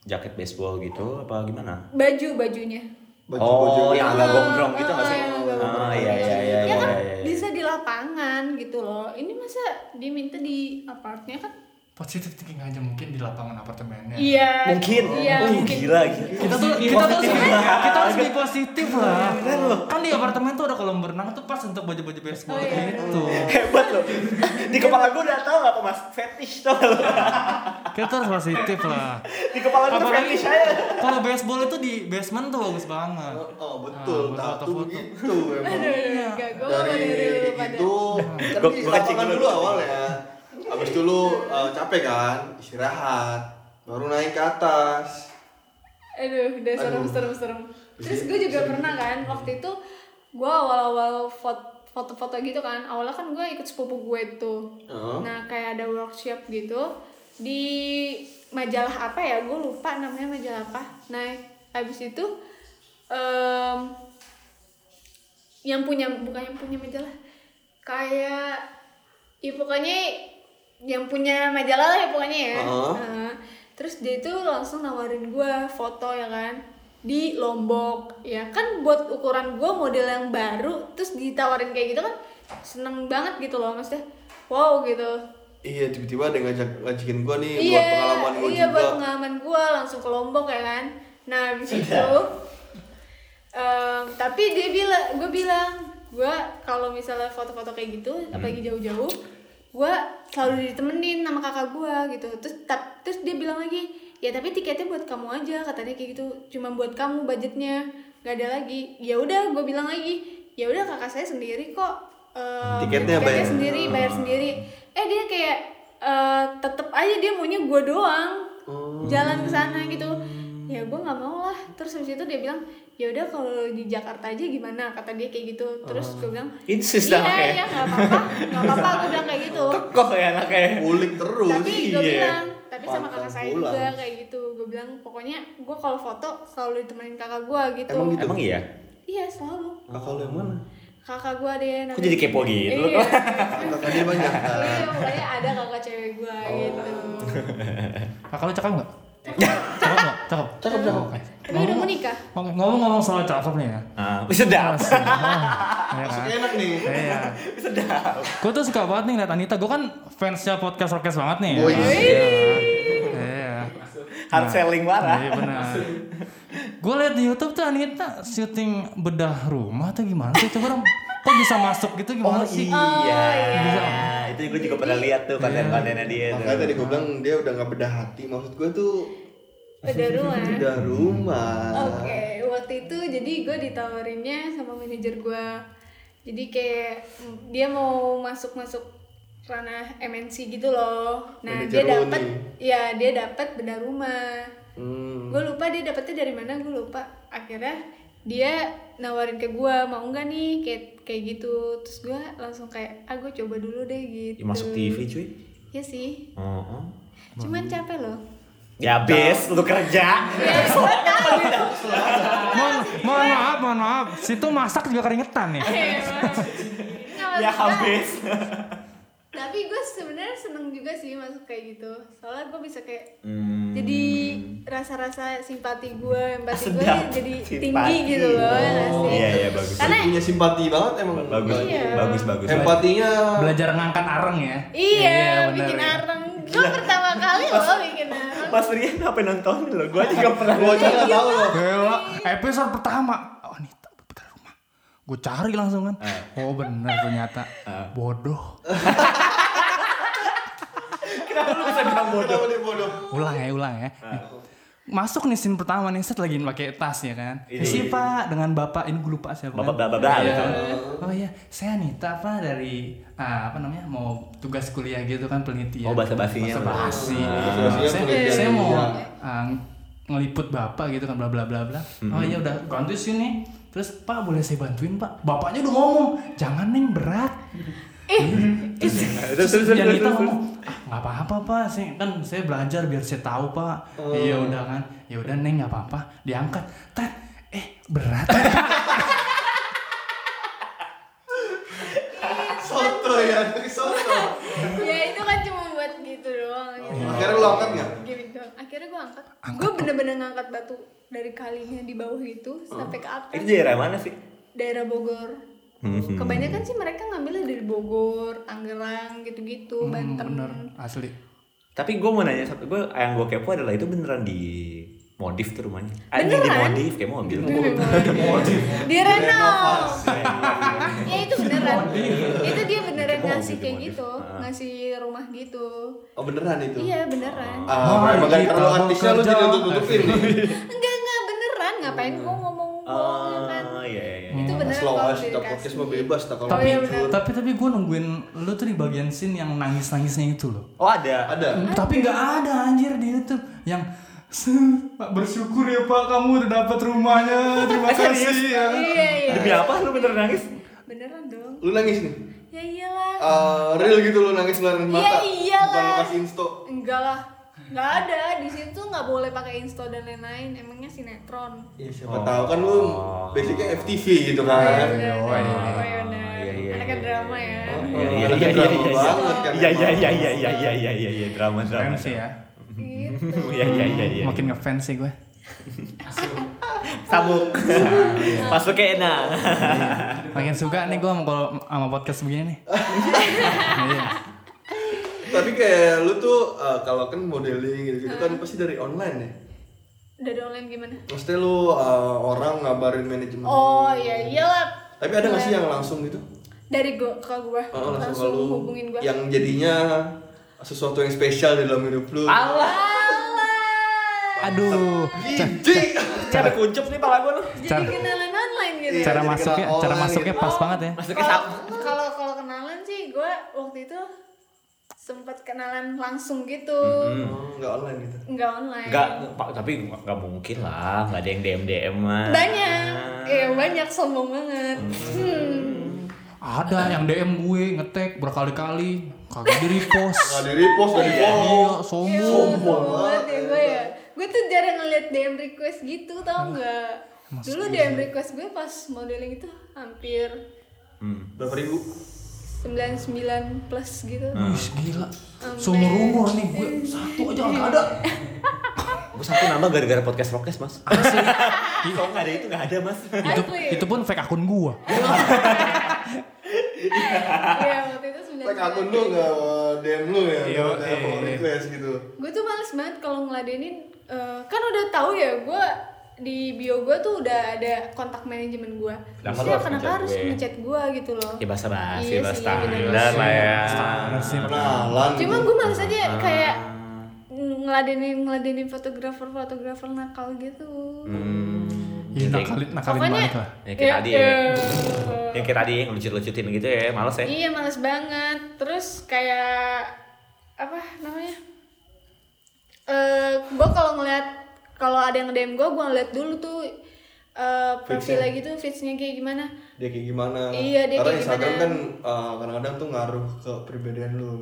Speaker 2: jaket baseball gitu apa gimana?
Speaker 3: baju bajunya
Speaker 2: oh, yang agak
Speaker 3: Ah,
Speaker 2: gombrong gitu nggak
Speaker 3: ah,
Speaker 2: sih?
Speaker 3: yang agak
Speaker 2: Ah,
Speaker 3: gombrong.
Speaker 2: iya iya iya
Speaker 3: ya
Speaker 2: iya.
Speaker 3: kan
Speaker 2: iya, iya.
Speaker 3: bisa di lapangan gitu loh ini masa diminta di apartnya kan
Speaker 5: positif thinking aja mungkin di lapangan apartemennya
Speaker 3: iya
Speaker 2: Mungkin.
Speaker 3: iya
Speaker 2: oh,
Speaker 3: mungkin
Speaker 2: gila gila.
Speaker 5: kita tuh kita tuh sebenarnya kita harus lebih positif lah kan di apartemen tuh ada kolam renang tuh pas untuk baju baju baseball
Speaker 3: Oh, iya.
Speaker 5: gitu
Speaker 2: Hebat loh. Di kepala gue udah tahu apa Mas fetish tuh.
Speaker 5: kita tuh harus positif lah
Speaker 2: Di kepala gue tuh
Speaker 5: apalagi
Speaker 2: fetish aja.
Speaker 5: kalau baseball itu di basement tuh bagus banget
Speaker 4: Oh, oh, betul,
Speaker 5: Ah,
Speaker 4: tato
Speaker 5: foto-foto.
Speaker 4: begitu emang.
Speaker 3: Gak, gue mau
Speaker 4: Dari
Speaker 3: diri lu pada
Speaker 4: itu kan
Speaker 2: Gua-
Speaker 4: di
Speaker 2: gua kencing
Speaker 4: lapangan
Speaker 2: dulu.
Speaker 4: dulu awal ya. Habis itu lu eh, capek kan, istirahat, baru naik ke atas.
Speaker 3: aduh udah serem
Speaker 4: Aduh.
Speaker 3: serem serem terus gue juga pernah kan waktu itu gue awal-awal fot- foto-foto gitu kan awalnya kan gue ikut sepupu gue tuh
Speaker 4: Heeh.
Speaker 3: nah kayak ada workshop gitu di majalah apa ya gue lupa namanya majalah apa nah abis itu em, yang punya bukan yang punya majalah kayak ya pokoknya yang punya majalah lah ya pokoknya ya
Speaker 4: Heeh.
Speaker 3: Nah, terus dia itu langsung nawarin gue foto ya kan di Lombok ya kan buat ukuran gue model yang baru terus ditawarin kayak gitu kan seneng banget gitu loh maksudnya wow gitu
Speaker 4: Iya, tiba-tiba ada yang ngajak ngajakin gua
Speaker 3: iya
Speaker 4: nih buat pengalaman gua
Speaker 3: iya
Speaker 4: juga.
Speaker 3: buat pengalaman gue langsung ke Lombok ya kan nah habis itu em, tapi dia bilang gue bilang gue kalau misalnya foto-foto kayak gitu
Speaker 4: Hmm.
Speaker 3: apalagi jauh-jauh gue selalu ditemenin sama kakak gue gitu terus tap, terus dia bilang lagi ya tapi tiketnya buat kamu aja katanya kayak gitu cuma buat kamu budgetnya nggak ada lagi ya udah gue bilang lagi ya udah kakak saya sendiri kok em,
Speaker 4: Tiketnya bayar. Hmm.
Speaker 3: sendiri bayar sendiri eh dia kayak eh, tetep aja dia maunya gue doang
Speaker 4: Oh.
Speaker 3: jalan ke sana gitu ya gue nggak mau lah terus habis itu dia bilang ya udah kalau di Jakarta aja gimana kata dia kayak gitu terus
Speaker 2: Oh.
Speaker 3: gue bilang
Speaker 2: Insist
Speaker 3: iya
Speaker 2: namanya.
Speaker 3: iya nggak apa-apa nggak apa-apa gue bilang kayak gitu
Speaker 2: Kok ya anaknya.
Speaker 4: Kulik terus.
Speaker 3: tapi gue
Speaker 2: iya.
Speaker 3: bilang tapi sama kakak
Speaker 4: Pantang
Speaker 3: saya
Speaker 4: pulang.
Speaker 3: juga kayak gitu gue bilang pokoknya gue kalau foto selalu ditemenin kakak gue gitu
Speaker 4: Emang gitu?
Speaker 2: Emang iya?
Speaker 3: iya selalu
Speaker 4: Kakak lu yang mana?
Speaker 3: kakak gue deh
Speaker 2: Kok jadi kepo gitu?
Speaker 4: Kakak dia banyak.
Speaker 3: Iya, pokoknya ada kakak cewek gue
Speaker 2: Oh.
Speaker 3: gitu.
Speaker 5: kakak lu cakep nggak cakep nggak cakep cakep cakep
Speaker 3: Tapi udah mau nikah.
Speaker 5: ngomong-ngomong soal cakep nih ya
Speaker 2: Ah, sedap.
Speaker 5: Asik. Iya kan?
Speaker 4: Maksudnya enak nih.
Speaker 5: Iya. Gue tuh suka banget nih ngeliat Anita. Gue kan fansnya podcast podcast banget nih. ya
Speaker 4: Wih.
Speaker 5: kan? Iya. Iya.
Speaker 2: Hard selling parah.
Speaker 5: Iya benar. Gue liat di YouTube tuh Anita syuting bedah rumah tuh gimana sih? Coba dong. Kok bisa masuk gitu
Speaker 2: Oh
Speaker 5: gimana sih?
Speaker 2: iya.
Speaker 5: Bisa.
Speaker 2: Itu gue juga pernah lihat tuh konten-kontennya dia tuh.
Speaker 4: Makanya tadi gue bilang dia udah nggak beda hati. Maksud gue tuh
Speaker 3: Udah rumah.
Speaker 4: udah rumah.
Speaker 3: Oke, waktu itu jadi gue ditawarinnya sama manajer gue. Jadi kayak mm, dia mau masuk-masuk ranah MNC gitu loh. Nah,
Speaker 4: Manajer
Speaker 3: dia
Speaker 4: lu
Speaker 3: dapat
Speaker 4: nih.
Speaker 3: ya dia dapat bedah rumah.
Speaker 4: Hmm.
Speaker 3: Gue lupa dia dapetnya dari mana, gue lupa. Akhirnya dia nawarin ke gue mau nggak nih kayak kayak gitu terus gue langsung kayak ah gue coba dulu deh gitu
Speaker 2: Ya, masuk TV cuy.
Speaker 3: ya sih
Speaker 2: Heeh.
Speaker 3: cuman capek loh
Speaker 2: Ya abis lu kerja.
Speaker 5: Mohon, mohon maaf, mohon maaf. Situ masak juga keringetan nih.
Speaker 3: Nggak
Speaker 2: Ya
Speaker 3: maksud gua-
Speaker 2: habis.
Speaker 3: tapi gue sebenarnya seneng juga sih masuk kayak gitu soalnya gue bisa kayak
Speaker 2: Hmm.
Speaker 3: jadi rasa-rasa simpati gue empati gue
Speaker 2: Sedap.
Speaker 3: jadi
Speaker 2: Simpati.
Speaker 3: tinggi gitu loh ya nggak sih?
Speaker 2: Iya iya bagus.
Speaker 3: karena
Speaker 4: punya simpati banget emang
Speaker 2: Bagus.
Speaker 3: Iya.
Speaker 2: Bagus bagus.
Speaker 4: empatinya
Speaker 5: Belajar ngangkat areng ya.
Speaker 3: iya
Speaker 5: benar
Speaker 3: bikin
Speaker 5: ya.
Speaker 3: areng gue pertama kali loh bikin areng
Speaker 2: Mas Rian apa nonton lo? Gue juga pernah.
Speaker 4: gua aja nggak tahu loh
Speaker 5: Gila, episode pertama oh, Anita bener rumah Gue cari langsung kan Oh bener ternyata Bodoh
Speaker 2: Kenapa lu bisa bilang bodoh?
Speaker 4: Kenapa dia bodoh
Speaker 5: Ulang ya ulang ya Masuk nih scene pertama nih Set lagi pakai tas ya kan
Speaker 2: Iya.
Speaker 5: Si pak dengan bapak Ini gue lupa siapa
Speaker 2: Bapak
Speaker 5: kan?
Speaker 2: bla bla bla
Speaker 5: Iya.
Speaker 2: gitu.
Speaker 5: Oh iya Saya Anita apa dari ah, Apa namanya Mau tugas kuliah gitu kan penelitian
Speaker 2: Oh, basa-basinya.
Speaker 5: Basa-basi
Speaker 4: Basa-basinya
Speaker 5: Saya-
Speaker 4: penelitian.
Speaker 5: Saya mau
Speaker 4: Iya.
Speaker 5: ah, ngeliput bapak gitu kan bla bla bla bla. Oh iya udah bantu sini. Terus Pak boleh saya bantuin Pak? Bapaknya udah ngomong jangan neng berat. Iya. terus terus terus yang kita ngomong "Ah, nggak apa-apa pak saya kan saya belajar biar saya tahu pak iya udah kan ya udah neng nggak apa-apa diangkat tet eh berat
Speaker 4: soto ya dari soto
Speaker 3: ya itu kan cuma buat gitu doang gitu.
Speaker 5: Iya.
Speaker 4: akhirnya lu angkat nggak
Speaker 3: Oh. Gini doang. akhirnya gue angkat gue bener-bener ngangkat batu dari kalinya di bawah gitu sampai ke atas
Speaker 2: Itu daerah mana sih?
Speaker 3: daerah Bogor. Kebanyakan sih mereka ngambilnya dari Bogor, Tangerang gitu-gitu, Banten.
Speaker 5: bener asli
Speaker 2: Tapi gue mau nanya satu, gue yang gue kepo adalah itu beneran di modif tuh rumahnya. Anjing di
Speaker 3: Beneran?
Speaker 2: modif kayak mobil. Oh, iya,
Speaker 3: Dia renov. ya itu beneran. itu dia beneran ngasih kayak gitu, ngasih rumah gitu.
Speaker 4: Oh beneran itu?
Speaker 3: Iya beneran.
Speaker 4: Ah,
Speaker 5: Oh,
Speaker 4: emang kan
Speaker 5: gitu,
Speaker 4: terlalu artisnya lu
Speaker 5: kerja.
Speaker 4: jadi tutup-tutupin nih.
Speaker 3: Enggak enggak beneran, ngapain gua ngomong bohongan kan?
Speaker 2: Oh iya iya. iya.
Speaker 3: Itu beneran
Speaker 4: Slow
Speaker 3: kalau
Speaker 4: aja, kita
Speaker 3: dikasih.
Speaker 4: podcast mah bebas tak kalau
Speaker 5: tapi
Speaker 3: iya, bener.
Speaker 5: tapi tapi gue nungguin lu tuh di bagian scene yang nangis nangisnya itu loh
Speaker 2: Oh ada.
Speaker 4: ada.
Speaker 5: tapi nggak ada anjir di YouTube yang Pak bersyukur ya Pak kamu udah dapat rumahnya terima kasih ya kan?"
Speaker 3: Iya iya.
Speaker 2: Demi apa lu bener nangis?
Speaker 3: Beneran dong.
Speaker 4: Lu nangis nih.
Speaker 3: Ya iyalah.
Speaker 4: Eh, real gitu lu nangis
Speaker 3: Iya
Speaker 4: ngeluarin mata. Bukan lu
Speaker 3: iyalah.
Speaker 4: kasih insto.
Speaker 3: Enggak lah. Enggak ada di situ nggak boleh pakai insta dan lain-lain. Emangnya sinetron.
Speaker 2: Iya,
Speaker 4: Ya siapa tahu kan
Speaker 2: Oh.
Speaker 4: lu basicnya FTV gitu kan.
Speaker 3: Iya,
Speaker 5: oh, iya,
Speaker 3: bener,
Speaker 2: iya.
Speaker 3: bener.
Speaker 2: Iya, iya,
Speaker 3: Anaknya
Speaker 2: iya,
Speaker 3: drama
Speaker 2: iya,
Speaker 3: ya.
Speaker 4: Oh,
Speaker 2: Iya iya
Speaker 4: anaknya
Speaker 2: iya iya
Speaker 4: drama
Speaker 2: iya.
Speaker 4: banget kan
Speaker 2: Iya iya
Speaker 4: emang.
Speaker 2: iya iya iya iya iya iya iya drama drama.
Speaker 5: Keren sih ya
Speaker 3: Gitu.
Speaker 2: Iya iya iya iya.
Speaker 5: makin ngefans sih gue
Speaker 2: sabuk. Masuknya enak.
Speaker 5: makin suka nih gue sama kalau sama podcast begini nih Iya.
Speaker 4: Tapi kayak lu tuh eh, kalau kan modeling gitu, gitu kan pasti dari online ya.
Speaker 3: Dari online gimana?
Speaker 4: Maksudnya lu eh, orang ngabarin manajemen.
Speaker 3: Oh iya iyalah.
Speaker 4: Tapi ada nggak sih yang langsung gitu?
Speaker 3: Dari gua ke gua
Speaker 4: Oh, langsung, Ya.
Speaker 3: langsung
Speaker 4: ke lu
Speaker 3: hubungin gua.
Speaker 4: yang jadinya sesuatu yang spesial di dalam hidup lu.
Speaker 3: Alah.
Speaker 5: aduh Ca-
Speaker 4: Jijik.
Speaker 2: Cara kuncup nih pala gue nih.
Speaker 3: Jadi
Speaker 5: Cara-
Speaker 3: kenalan online gitu.
Speaker 5: cara
Speaker 4: Iya, jadi
Speaker 5: masuknya
Speaker 4: kenal
Speaker 5: cara
Speaker 4: orang
Speaker 5: masuknya
Speaker 4: gitu.
Speaker 5: pas banget ya
Speaker 2: Masuknya sabuk.
Speaker 3: Kalau kalau kalau kenalan sih gua waktu itu sempat kenalan langsung gitu.
Speaker 2: Hmm.
Speaker 4: Oh, nggak online gitu.
Speaker 3: Nggak online.
Speaker 2: Enggak, Pak, tapi enggak mungkin lah, enggak ada yang DM DM mah.
Speaker 3: Banyak. Iya, banyak sombong banget. Hmm.
Speaker 5: ada yang DM gue ngetek berkali-kali kagak di repost
Speaker 4: Nggak di repost, nggak di follow.
Speaker 5: Iya,
Speaker 3: Ya,
Speaker 5: sombong.
Speaker 3: sombong banget ya gue ya gue tuh jarang ngeliat DM request gitu tau nggak dulu DM request gue pas modeling itu hampir
Speaker 2: Hmm.
Speaker 4: Berapa ribu?
Speaker 3: 99 plus gitu
Speaker 5: Wih, gila. Seumur umur nih gue satu aja nggak ada.
Speaker 2: Gue satu nambah gara-gara podcast podcast mas. Kalau nggak ada itu nggak ada mas.
Speaker 5: Itu
Speaker 3: Asli. ya.
Speaker 5: itu pun fake akun gua.
Speaker 3: Iya, waktu itu
Speaker 4: Like
Speaker 3: 99
Speaker 4: akun lu nggak DM lu ya?
Speaker 5: Iya,
Speaker 4: nggak ada
Speaker 5: iya,
Speaker 4: follow
Speaker 5: iya.
Speaker 4: request gitu.
Speaker 3: gue tuh males banget kalau ngeladenin eh, kan udah tahu ya gue di bio gue tuh udah ada kontak manajemen gue
Speaker 2: Kenapa lu
Speaker 3: Maksudnya
Speaker 2: harus
Speaker 3: kenapa
Speaker 2: ngechat
Speaker 3: harus
Speaker 2: gue?
Speaker 3: ngechat gue gitu loh
Speaker 2: Ya bahasa basi
Speaker 3: Iya
Speaker 2: lah
Speaker 3: sih,
Speaker 2: standar
Speaker 3: bener.
Speaker 2: lah ya.
Speaker 5: Standar sih.
Speaker 4: Kenalan.
Speaker 3: cuma
Speaker 4: gitu.
Speaker 3: gue males aja
Speaker 2: ah.
Speaker 3: kayak ngeladenin ngeladenin fotografer fotografer nakal gitu
Speaker 5: Iya nakalin nakalin
Speaker 3: Pokoknya-
Speaker 5: banget lah.
Speaker 2: Yang kayak
Speaker 3: Ya,
Speaker 2: tadi
Speaker 3: ya.
Speaker 2: Hmm. ya. Yang kayak tadi yang lucu-lucutin gitu ya, males ya.
Speaker 3: Iya males banget. Terus kayak apa namanya? Eh, gua kalau ngeliat kalau ada yang DM gua, gua ngeliat dulu tuh eh profilnya gitu, feedsnya kayak gimana?
Speaker 4: dia kayak gimana?
Speaker 3: Iya, dia
Speaker 4: Karena
Speaker 3: kayak
Speaker 4: Instagram
Speaker 3: gimana.
Speaker 4: kan eh, kadang-kadang tuh ngaruh ke pribadian lu.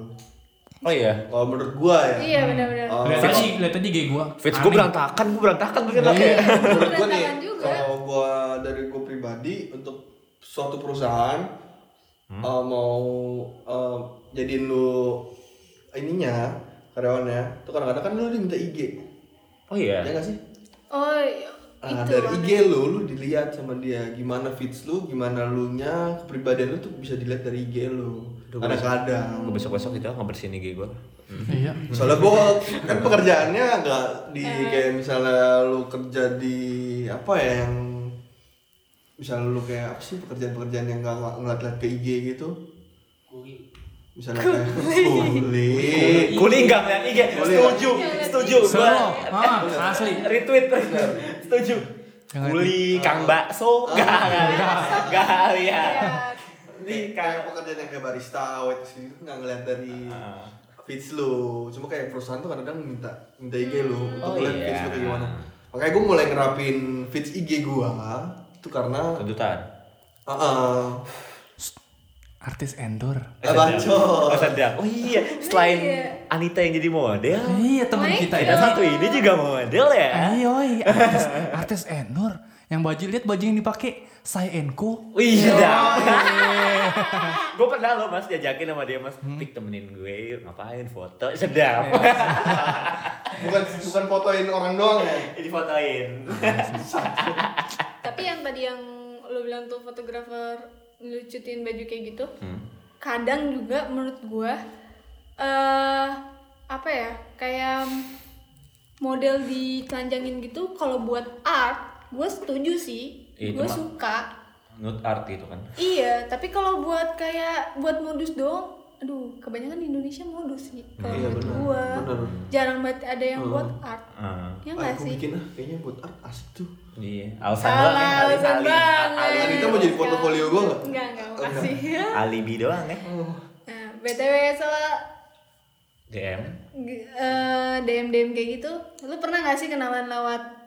Speaker 2: Oh iya.
Speaker 4: Kalau menurut gua ya.
Speaker 3: Iya benar-benar.
Speaker 4: Oh,
Speaker 5: Lihat tadi lihat tadi IG gua.
Speaker 2: Fits
Speaker 5: aneh. Iya.
Speaker 2: gue berantakan, gue berantakan gue kira kayak.
Speaker 4: menurut gue nih
Speaker 3: Berantakan juga.
Speaker 4: kalau gue dari gue pribadi untuk suatu perusahaan
Speaker 5: Hmm?
Speaker 4: eh, mau eh, jadiin lu ininya karyawannya itu kadang-kadang kan lu diminta IG
Speaker 2: Oh iya.
Speaker 4: ya nggak sih
Speaker 3: Oh
Speaker 4: Nah,
Speaker 3: itu.
Speaker 4: dari IG lu, lu dilihat sama dia gimana fits lu, gimana lu nya, kepribadian lu tuh bisa dilihat dari IG lu. Kadang-kadang.
Speaker 2: Gue besok-besok itu ngebersihin IG gue.
Speaker 5: Iya.
Speaker 4: Soalnya gue kan pekerjaannya nggak di kayak misalnya lu kerja di apa ya yang misalnya lu kayak apa sih pekerjaan-pekerjaan yang nggak nggak ngeliat-ngeliat ke IG gitu. Misalnya kayak kulit.
Speaker 2: Kuning nggak ngeliat IG. ya, Setuju, setuju. Gue
Speaker 5: Solo. Ah, asli.
Speaker 2: retweet, setuju.
Speaker 5: Yang
Speaker 2: Kuli, Kang
Speaker 5: Oh.
Speaker 2: Bakso, nggak
Speaker 5: Iya.
Speaker 2: nggak nggak lihat.
Speaker 3: Ah.
Speaker 4: Ini kayak pekerjaan yang kayak barista, wait gitu nggak ngeliat dari
Speaker 5: Ah.
Speaker 4: feeds lu. Cuma kayak perusahaan tuh kadang-kadang minta minta IG lu
Speaker 5: Hmm.
Speaker 4: untuk
Speaker 2: Oh,
Speaker 4: ngeliat
Speaker 2: iya.
Speaker 4: feeds lu kayak gimana. Makanya gue mulai ngerapin feeds IG gua itu karena
Speaker 2: Kedutaan.
Speaker 4: Ah, ah.
Speaker 5: artis endor.
Speaker 4: Bacot.
Speaker 2: Oh, sedap. Oh iya, selain
Speaker 3: Iya.
Speaker 2: Anita yang jadi model,
Speaker 5: Iya teman
Speaker 3: Michael.
Speaker 5: kita
Speaker 2: kita
Speaker 5: ini.
Speaker 2: satu ini juga model ya.
Speaker 5: Ayo, iya, artis, artis endor. Yang baju lihat baju yang dipakai saya Enko.
Speaker 2: Wih, gue Iya. pernah loh mas diajakin sama dia mas, pik temenin gue yuk, ngapain foto, sedap.
Speaker 4: Bukan bukan fotoin orang doang ya.
Speaker 2: Ini fotoin.
Speaker 3: Tapi yang tadi yang lo bilang tuh fotografer ngelucutin baju kayak gitu, kadang juga menurut gua eh apa ya kayak model ditelanjangin gitu kalau buat art gue setuju sih
Speaker 2: Itu
Speaker 3: gue
Speaker 2: mah.
Speaker 3: suka
Speaker 2: Nude art itu kan.
Speaker 3: Iya, tapi kalau buat kayak buat modus doang, aduh, kebanyakan di Indonesia modus sih. Kalau
Speaker 4: Iya,
Speaker 3: menurut
Speaker 4: benar,
Speaker 3: gua,
Speaker 4: benar.
Speaker 3: jarang banget ada yang buat art.
Speaker 2: Ah,
Speaker 3: Ya
Speaker 4: Ah,
Speaker 3: nggak
Speaker 4: aku
Speaker 3: sih?
Speaker 4: bikin ah kayaknya buat art asik tuh.
Speaker 2: iya. Alasan
Speaker 3: Salah,
Speaker 2: doang ya, alis-
Speaker 3: alasan
Speaker 2: ali-
Speaker 3: banget.
Speaker 2: ali-
Speaker 4: Anita mau jadi portofolio gua nggak?
Speaker 3: Enggak, enggak, makasih.
Speaker 2: alibi doang ya.
Speaker 3: Nah, BTW soal
Speaker 2: DM.
Speaker 3: g- eh, DM-DM kayak gitu, lu pernah gak sih kenalan lewat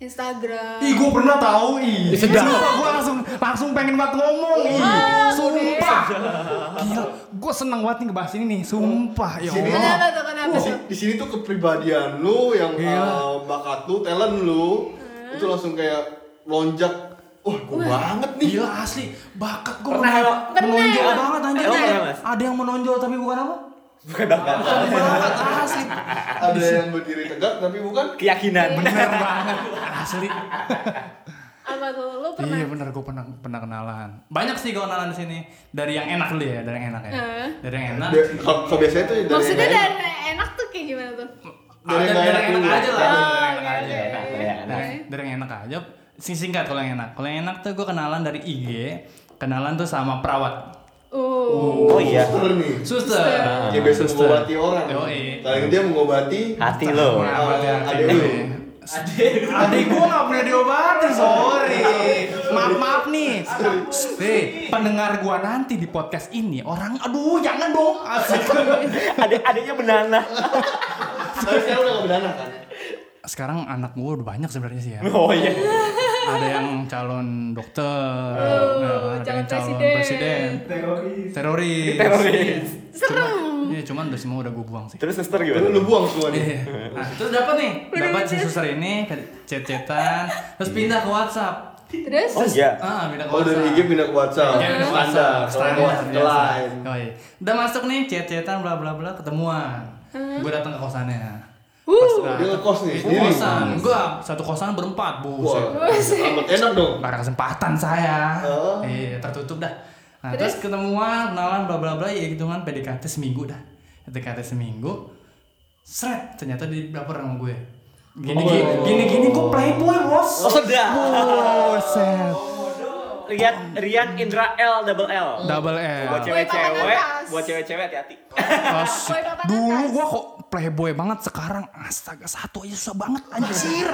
Speaker 3: Instagram?
Speaker 5: Ih, gue pernah tahu ih.
Speaker 2: sedap.
Speaker 5: gue Iya, langsung langsung pengen banget ngomong ih. Sumpah. Gila, gue seneng banget nih ngebahas ini nih. Sumpah, ya Allah.
Speaker 3: Kenapa tuh, kenapa
Speaker 4: Di,
Speaker 3: tuh?
Speaker 4: di sini tuh kepribadian lu yang
Speaker 5: Iya.
Speaker 4: uh, bakat lu, talent lu itu langsung kayak lonjak. Wah, gua banget nih.
Speaker 5: Gila asli, bakat gue
Speaker 2: Pernah, Elo?
Speaker 5: menonjol
Speaker 3: Pernah.
Speaker 5: banget anjir.
Speaker 2: Elo pernah, Mas?
Speaker 5: Ada yang menonjol tapi bukan apa?
Speaker 2: Bukan bakat.
Speaker 5: Bakat asli.
Speaker 4: Ada yang berdiri tegak tapi bukan
Speaker 2: Keyakinan.
Speaker 3: Iya,
Speaker 5: Bener banget, asli.
Speaker 3: Apa tuh? Lu pernah?
Speaker 5: Iya bener, gue pernah pernah kenalan. Banyak sih gue kenalan di sini. Dari yang enak dulu ya, dari yang enak ya.
Speaker 3: Heeh.
Speaker 5: Dari yang enak.
Speaker 4: Dia- kalau kalau biasanya tuh dari
Speaker 3: Maksudnya
Speaker 4: yang lain.
Speaker 3: dari enak tuh kayak gimana tuh?
Speaker 5: Ada
Speaker 4: Dari yang
Speaker 5: dari
Speaker 4: enak
Speaker 5: yang enak
Speaker 4: dulu. ya?
Speaker 5: aja lah.
Speaker 3: Oh,
Speaker 5: Dari yang
Speaker 3: oke,
Speaker 5: enak aja.
Speaker 3: oke.
Speaker 2: Dari yang enak.
Speaker 3: Oke.
Speaker 5: dari yang enak aja sing- singkat kalau yang enak kalau yang enak tuh gue kenalan dari IG kenalan tuh sama perawat
Speaker 3: Uh.
Speaker 2: Oh iya. Ah,
Speaker 4: Suster nih.
Speaker 5: suster Nah,
Speaker 4: Dia biasa
Speaker 5: Suster.
Speaker 4: mengobati orang.
Speaker 5: Yoi.
Speaker 4: Paling dia mengobati
Speaker 2: Hati lo.
Speaker 5: Perawat ya.
Speaker 4: Adik lu.
Speaker 5: Adik gue gak pernah diobatin, sorry. Maaf maaf nih. Hei, pendengar gue nanti di podcast ini orang, aduh jangan dong. Asik.
Speaker 2: Adik adiknya benana.
Speaker 4: Tapi sekarang udah gak berdana kan?
Speaker 5: Sekarang anak gue udah banyak sebenarnya sih ya.
Speaker 2: Oh iya.
Speaker 5: Ada yang calon dokter, ya kan?
Speaker 3: Oh,
Speaker 5: ada
Speaker 3: calon
Speaker 5: yang calon
Speaker 3: presiden.
Speaker 5: presiden, teroris,
Speaker 2: Teroris.
Speaker 3: Serem.
Speaker 5: Iya, cuman udah semua udah gue buang sih.
Speaker 2: Terus suster
Speaker 4: Lu,
Speaker 2: gimana?
Speaker 4: lu buang semua nih.
Speaker 5: Iya. Nah, terus dapat nih, dapat si suster ini cecetan, terus pindah ke WhatsApp.
Speaker 3: Terus?
Speaker 2: Oh iya.
Speaker 5: Ah, pindah ke
Speaker 4: Oh dari
Speaker 5: WhatsApp.
Speaker 4: IG pindah ke WhatsApp.
Speaker 5: Iya, pindah ke
Speaker 4: Standar,
Speaker 5: WhatsApp.
Speaker 4: standar,
Speaker 5: Standar,
Speaker 4: ke
Speaker 5: biasa.
Speaker 4: Line.
Speaker 5: Oh, iya. Udah masuk nih cecetan bla bla bla ketemuan. Gue datang ke kosannya. Pas,
Speaker 3: Uh.
Speaker 5: nah,
Speaker 4: Dia ngekos nih,
Speaker 5: itu
Speaker 4: sendiri.
Speaker 5: kosan. Gua satu kosan berempat,
Speaker 4: Wah,
Speaker 5: buset.
Speaker 4: amat enak dong.
Speaker 5: Gak ada kesempatan saya.
Speaker 4: Oh.
Speaker 5: Iya, tertutup dah. Nah,
Speaker 3: Terus?
Speaker 5: terus, ketemuan, kenalan bla bla bla ya gitu kan PDKT seminggu dah. PDKT seminggu. Sret, ternyata di baper sama gue. Gini gini gini, gini gue playboy, Bos. Oh,
Speaker 2: Oh sedap.
Speaker 5: Buset.
Speaker 2: Rian Rian Indra L double L.
Speaker 5: Double
Speaker 2: Buat
Speaker 3: Woi,
Speaker 5: L.
Speaker 3: papan
Speaker 2: cewek-cewek,
Speaker 3: atas.
Speaker 2: buat cewek-cewek hati-hati.
Speaker 5: Asik.
Speaker 3: Boy papan
Speaker 5: Dulu
Speaker 3: atas.
Speaker 5: gua kok playboy banget, sekarang astaga satu aja susah banget anjir.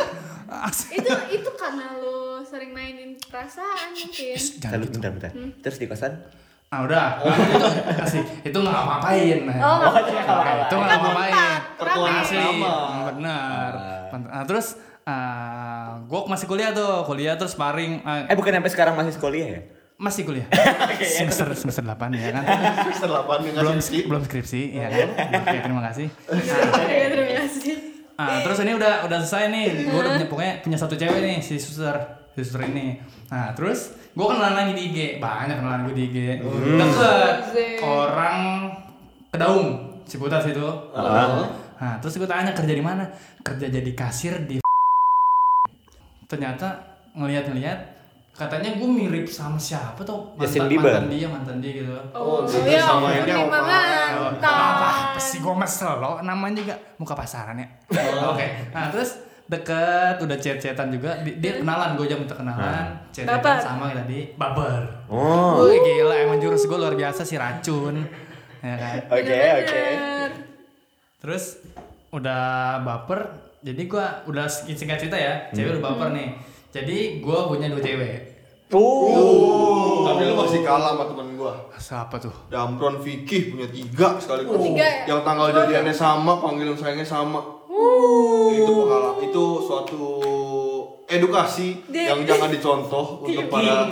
Speaker 5: Asik.
Speaker 3: itu itu karena lo sering mainin perasaan mungkin
Speaker 5: Shh, Jangan
Speaker 2: Lalu
Speaker 5: gitu.
Speaker 2: bentar bentar.
Speaker 3: Hmm.
Speaker 2: Terus di kosan?
Speaker 5: Ah udah, Nah, itu asik. Itu nggak ngapain.
Speaker 3: oh nggak
Speaker 2: iya.
Speaker 3: apa-apa.
Speaker 5: Nah, itu nggak ngapain.
Speaker 4: Pertuan
Speaker 3: Kan Rame.
Speaker 5: Asli, Hmm,
Speaker 4: asrama.
Speaker 5: benar. Nah, terus ah, gua masih kuliah tuh, kuliah terus sparring ah,
Speaker 2: Eh bukan sampai sekarang masih sekolah ya?
Speaker 5: masih kuliah. semester semester 8 ya kan.
Speaker 4: Semester 8 nih
Speaker 5: Belum
Speaker 4: ngasih sih.
Speaker 5: belum iya. skripsi ya kan. Oke, terima kasih.
Speaker 3: Iya, terima kasih
Speaker 5: Ah, terus ini udah udah selesai nih. Gue udah punya pokoknya punya satu cewek nih si suster, si suster ini. Nah, terus gue kenalan lagi di IG. Banyak kenalan gue di IG.
Speaker 2: Hmm.
Speaker 5: Deket
Speaker 3: Asik.
Speaker 5: orang Kedaung, Ciputat situ.
Speaker 2: Ah.
Speaker 5: Nah, terus gue tanya kerja di mana? Kerja jadi kasir di Ternyata ngelihat-ngelihat katanya gue mirip sama siapa tuh
Speaker 2: Justin
Speaker 5: mantan,
Speaker 2: Bieber.
Speaker 5: mantan dia mantan dia gitu
Speaker 3: oh,
Speaker 4: Oh,
Speaker 3: iya
Speaker 4: sama
Speaker 3: ampun,
Speaker 4: ini
Speaker 3: terima
Speaker 4: apa?
Speaker 5: apa apa
Speaker 3: mantap
Speaker 5: sih gue mesel lo namanya juga muka pasaran ya oke nah terus deket udah chat-chatan juga Di- dia kenalan gue jam minta kenalan chat-chatan
Speaker 3: Baper.
Speaker 5: sama kayak tadi Hmm. baper
Speaker 2: Oh.
Speaker 5: Wih gila emang jurus gue luar biasa sih racun ya kan
Speaker 2: Oke oke.
Speaker 3: Bener.
Speaker 5: terus udah baper jadi gue udah singkat cerita ya cewek udah baper nih jadi gue punya dua cewek
Speaker 4: Oh, Tapi lu masih kalah sama temen gua.
Speaker 5: siapa tuh
Speaker 4: Damron Vicky punya tiga sekali Oh,
Speaker 3: Tiga ya?
Speaker 4: Yang tanggal jadiannya sama, panggilan sayangnya sama. Itu pengalaman, itu suatu edukasi
Speaker 3: Dia-
Speaker 4: yang jangan dicontoh untuk para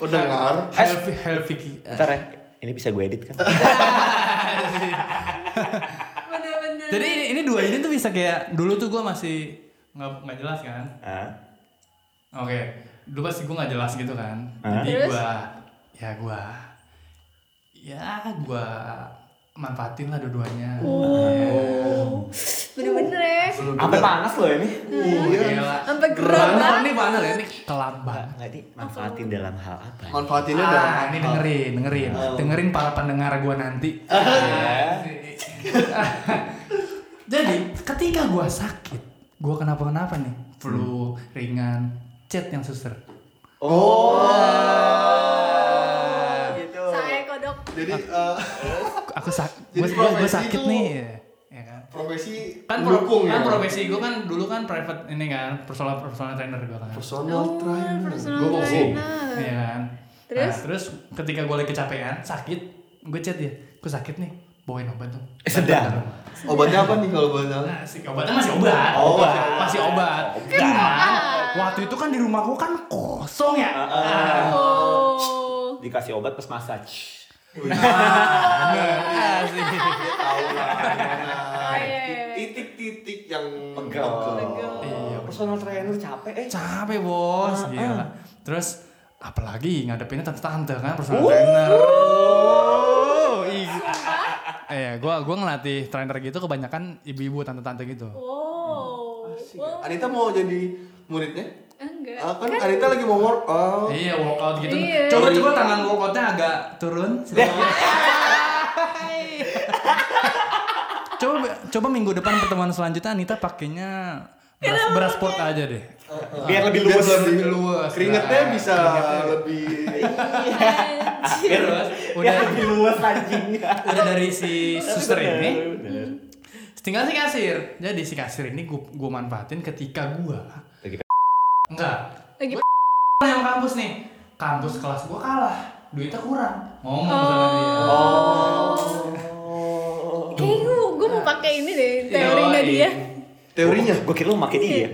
Speaker 4: pendengar
Speaker 5: Helvi Helvi
Speaker 2: Ntar ya, ini bisa gue edit kan?
Speaker 3: Bener-bener.
Speaker 5: Jadi ini, ini dua ini tuh bisa kayak dulu tuh gue masih nggak nggak jelas kan.
Speaker 2: Hah?
Speaker 5: Oke, dulu pasti gue nggak jelas gitu kan.
Speaker 2: Hah?
Speaker 5: Jadi
Speaker 3: Terus?
Speaker 5: gue, ya gue, ya gue manfaatin lah dua-duanya.
Speaker 3: Oh. Bener-bener ya.
Speaker 2: Sampai panas loh ini.
Speaker 3: Hmm.
Speaker 2: Iya.
Speaker 4: Iya.
Speaker 5: Gila.
Speaker 3: Sampai gerak
Speaker 5: Panas
Speaker 3: banget.
Speaker 5: nih panas ya, ini kelam banget.
Speaker 2: Nggak di manfaatin dalam hal apa?
Speaker 4: manfaatinnya dalam
Speaker 5: Ah, ini dengerin, dengerin,
Speaker 4: Oh.
Speaker 5: dengerin para pendengar gue nanti.
Speaker 4: Iya.
Speaker 5: Jadi ketika gue sakit, gue kenapa-kenapa nih, flu
Speaker 4: Hmm.
Speaker 5: ringan, chat yang suster.
Speaker 3: Saya kodok.
Speaker 4: jadi eh,
Speaker 5: Aku sak,
Speaker 4: Jadi
Speaker 5: gue gue
Speaker 4: profesi
Speaker 5: sakit
Speaker 4: itu-
Speaker 5: nih, ya kan.
Speaker 4: profesi
Speaker 5: Kan, pro-
Speaker 4: mendukung ya
Speaker 5: kan profesi gue kan dulu kan private ini kan, personal personal trainer gue kan.
Speaker 4: personal trainer
Speaker 3: personal
Speaker 4: gue bohong
Speaker 3: trainer.
Speaker 5: Iya kan.
Speaker 3: Terus?
Speaker 5: Nah, terus ketika gue lagi kecapean, sakit, gue chat dia, gue sakit nih, bawain obat dong.
Speaker 2: Sedang.
Speaker 4: obatnya apa nih kalau obatnya
Speaker 5: Nah, si obatnya masih obat.
Speaker 2: Obat.
Speaker 5: Masih obat. Cuman waktu itu kan di rumah gua kan kosong ya.
Speaker 3: Oh.
Speaker 2: Dikasih obat pas massage.
Speaker 5: Iya, Ah, sih.
Speaker 4: tahu lah
Speaker 3: Iya, iya, iya.
Speaker 4: titik-titik yang
Speaker 2: Pegel.
Speaker 4: pegel.
Speaker 5: Iya,
Speaker 2: Oh, Personal trainer capek eh.
Speaker 5: capek bos. Gila. Terus apalagi ngadepinnya tante-tante kan personal trainer. Oh, iya. Eh, gua gua ngelatih trainer gitu kebanyakan ibu-ibu tante-tante gitu.
Speaker 3: Oh. Wow. Wow.
Speaker 4: Anita mau jadi muridnya
Speaker 3: Enggak.
Speaker 4: Ah, kan Anita lagi mau work oh
Speaker 5: Iya, workout gitu.
Speaker 3: Iya.
Speaker 5: Coba coba tangan workoutnya agak turun. sedikit. coba coba minggu depan pertemuan selanjutnya Anita pakainya beras, beras sport aja deh.
Speaker 2: Biar lebih luwes.
Speaker 4: lebih luas keringetnya bisa lebih
Speaker 2: Biar
Speaker 5: Udah.
Speaker 2: Biar lebih luwes anjing.
Speaker 5: Udah dari si suster ini.
Speaker 2: Ya. Bener.
Speaker 5: Tinggal si kasir. Jadi si kasir ini gua, gua manfaatin ketika gua
Speaker 2: Lagi
Speaker 5: enggak
Speaker 3: Lagi
Speaker 5: yang kampus nih. Kampus kelas gua kalah. Duitnya kurang. Ngomong sama dia.
Speaker 3: Oh, Kayaknya gue, gue mau pakai ini deh teorinya
Speaker 5: Yoi.
Speaker 3: dia.
Speaker 4: teorinya
Speaker 2: Gue kira lu make dia.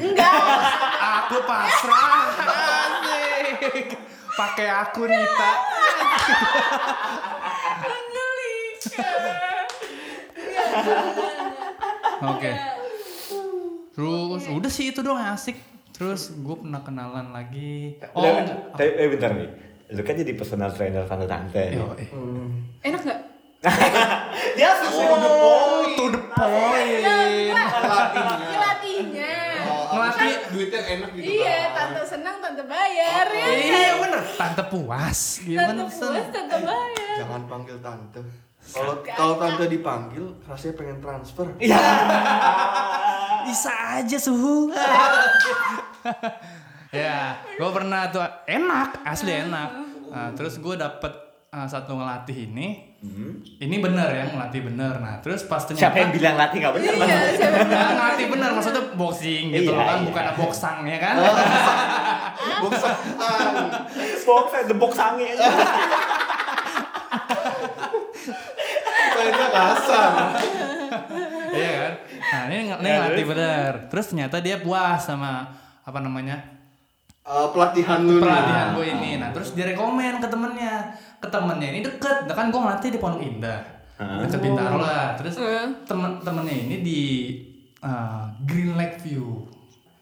Speaker 5: Aku pasrah. Asik. Pakai aku Nita. Oke. Terus udah sih itu doang yang asik. Terus gue pernah kenalan lagi. Oh,
Speaker 2: Udah,
Speaker 5: enggak.
Speaker 2: tapi eh, bentar nih. Lu kan jadi personal trainer tante-tante. nih.
Speaker 5: Yo, eh.
Speaker 3: Enak nggak?
Speaker 2: Dia
Speaker 3: Oh.
Speaker 2: semua
Speaker 5: To the point.
Speaker 3: Ngelatihnya.
Speaker 5: Ngelatih.
Speaker 4: duitnya enak gitu
Speaker 3: Iya, tante senang, tante bayar ya.
Speaker 5: Iya bener. Tante puas.
Speaker 3: Tante
Speaker 5: Gimana sen?
Speaker 3: puas, tante bayar.
Speaker 4: jangan panggil tante kalau kalau tante dipanggil rasanya pengen transfer
Speaker 5: Bisa aja suhu. ya, gue pernah tuh enak, asli enak. Nah, terus gue dapet uh, satu ngelatih ini. Ini bener ya, ngelatih bener. Nah, terus pas ternyata
Speaker 2: Hmm. Siapa yang bilang latih nggak benar?
Speaker 3: Iya, siapa yang
Speaker 5: Nah, ngelatih bener maksudnya boxing gitu
Speaker 2: Iya,
Speaker 5: loh
Speaker 2: iya.
Speaker 5: kan,
Speaker 2: Oh.
Speaker 5: bukan boxang ya kan.
Speaker 2: Box, eh, the box sange.
Speaker 4: mainnya kasar
Speaker 5: Iya kan? Nah, ini, nge- ini
Speaker 2: Ya,
Speaker 5: ngelatih bener. Terus ternyata dia puas sama apa namanya?
Speaker 4: Eh, pelatihan lu nih.
Speaker 5: pelatihan gue ini nah terus dia rekomen ke temennya ke temennya ini deket nah, kan gue ngelatih di Pondok Indah deket Bintaro lah terus temen temennya ini di eh, Green Lake View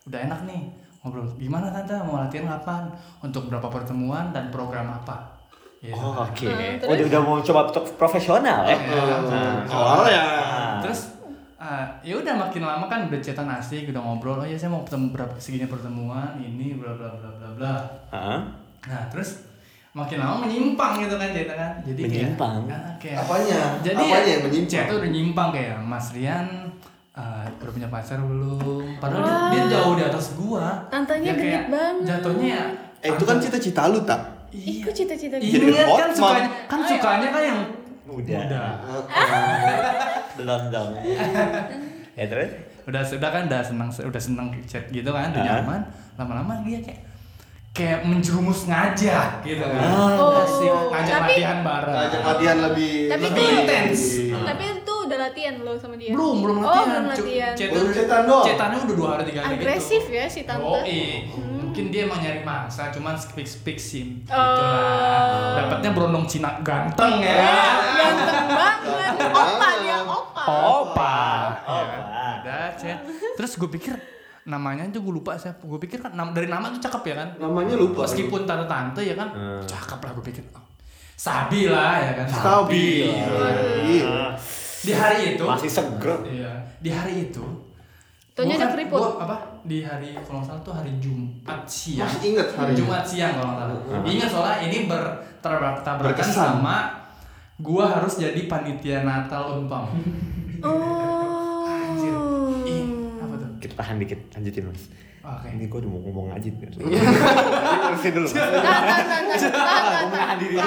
Speaker 5: udah enak nih ngobrol gimana tante mau latihan kapan untuk berapa pertemuan dan program apa Gitu.
Speaker 2: Oh, Oke,
Speaker 3: terus?
Speaker 2: udah udah mau coba pro- profesional ya.
Speaker 4: Eh, awal ya
Speaker 5: kan? terus eh, ya udah makin lama kan udah cetan asik udah ngobrol oh ya saya mau ketemu berapa segini pertemuan ini bla bla bla bla bla
Speaker 2: Hah?
Speaker 5: Nah terus makin lama menyimpang gitu kan cerita kan. Jadi kayak-
Speaker 2: Menyimpang?
Speaker 5: Nah, kayak,
Speaker 4: Apanya?
Speaker 5: Jadi
Speaker 4: Apanya yang menyimpang?
Speaker 5: Chat tuh udah nyimpang kayak Mas Rian eh, udah punya pacar belum? Padahal dia, dia jauh di atas gua.
Speaker 3: Tantanya
Speaker 5: Ya, kayak
Speaker 3: genit banget.
Speaker 5: Jatuhnya ya.
Speaker 4: eh itu kan cita-cita lu tak
Speaker 3: Ih, kok cita-cita gitu?
Speaker 4: Jadi
Speaker 5: Iya kan
Speaker 4: hotman.
Speaker 5: sukanya kan sukanya kan yang
Speaker 2: Udah.
Speaker 5: udah
Speaker 2: Belum dong. ya terus?
Speaker 5: udah sudah kan udah senang udah senang chat gitu kan udah
Speaker 2: Ah.
Speaker 5: nyaman lama-lama dia kayak kayak menjerumus ngajak gitu kan
Speaker 3: Oh.
Speaker 4: Ah.
Speaker 5: Asik, ngajak
Speaker 3: Tapi-
Speaker 5: latihan bareng
Speaker 4: ajak latihan lebih
Speaker 3: Tapi
Speaker 5: Lebih
Speaker 3: itu
Speaker 5: intens.
Speaker 3: Tapi itu lu udah latihan lo sama dia?
Speaker 5: belum belum
Speaker 3: Oh,
Speaker 5: latihan
Speaker 3: belum
Speaker 5: cu-
Speaker 3: latihan.
Speaker 5: cetan-
Speaker 4: Baru cetan doang.
Speaker 5: cetannya udah dua hari tiga hari
Speaker 3: Agresif
Speaker 5: gitu.
Speaker 3: ya si tante. Hmm.
Speaker 5: oh iya mungkin dia emang nyari mangsa cuman speak speak sim
Speaker 3: Oh.
Speaker 5: gitu lah dapatnya berondong Cina ganteng ya
Speaker 3: Iya. Ganteng banget. Opa dia, opa.
Speaker 5: opa
Speaker 2: Oh,
Speaker 5: Ya.
Speaker 2: Pak.
Speaker 5: ada chat terus gue pikir namanya tuh gue lupa siapa gue pikir kan nam- dari nama tuh cakep ya kan
Speaker 4: Namanya lupa.
Speaker 5: meskipun tante tante ya kan cakep lah gue pikir Oh, sabi lah ya kan
Speaker 4: stabil. Iya.
Speaker 5: di hari itu
Speaker 2: Masih seger.
Speaker 5: Iya. Di hari itu.
Speaker 3: Taunya ada
Speaker 5: gua kan-
Speaker 3: keriput.
Speaker 5: gua apa? Di hari kalau nggak salah tuh hari Jumat siang.
Speaker 4: Masih inget hari itu?
Speaker 5: Jumat siang kalau nggak salah. Ingat soalnya ini bertabrakan
Speaker 4: Berkesan.
Speaker 5: sama gua harus jadi panitia Natal umpam. Anjir.
Speaker 3: Oh.
Speaker 5: Ih, apa tuh?
Speaker 2: Kita tahan dikit, lanjutin mas.
Speaker 5: Oke.
Speaker 2: Ini gue udah mau ngomong aja. Iya. Terusin dulu. Mas.
Speaker 3: Tahan, tahan, tahan, tahan, tahan,
Speaker 2: Kamu nahan
Speaker 3: tahan.
Speaker 2: diri dulu.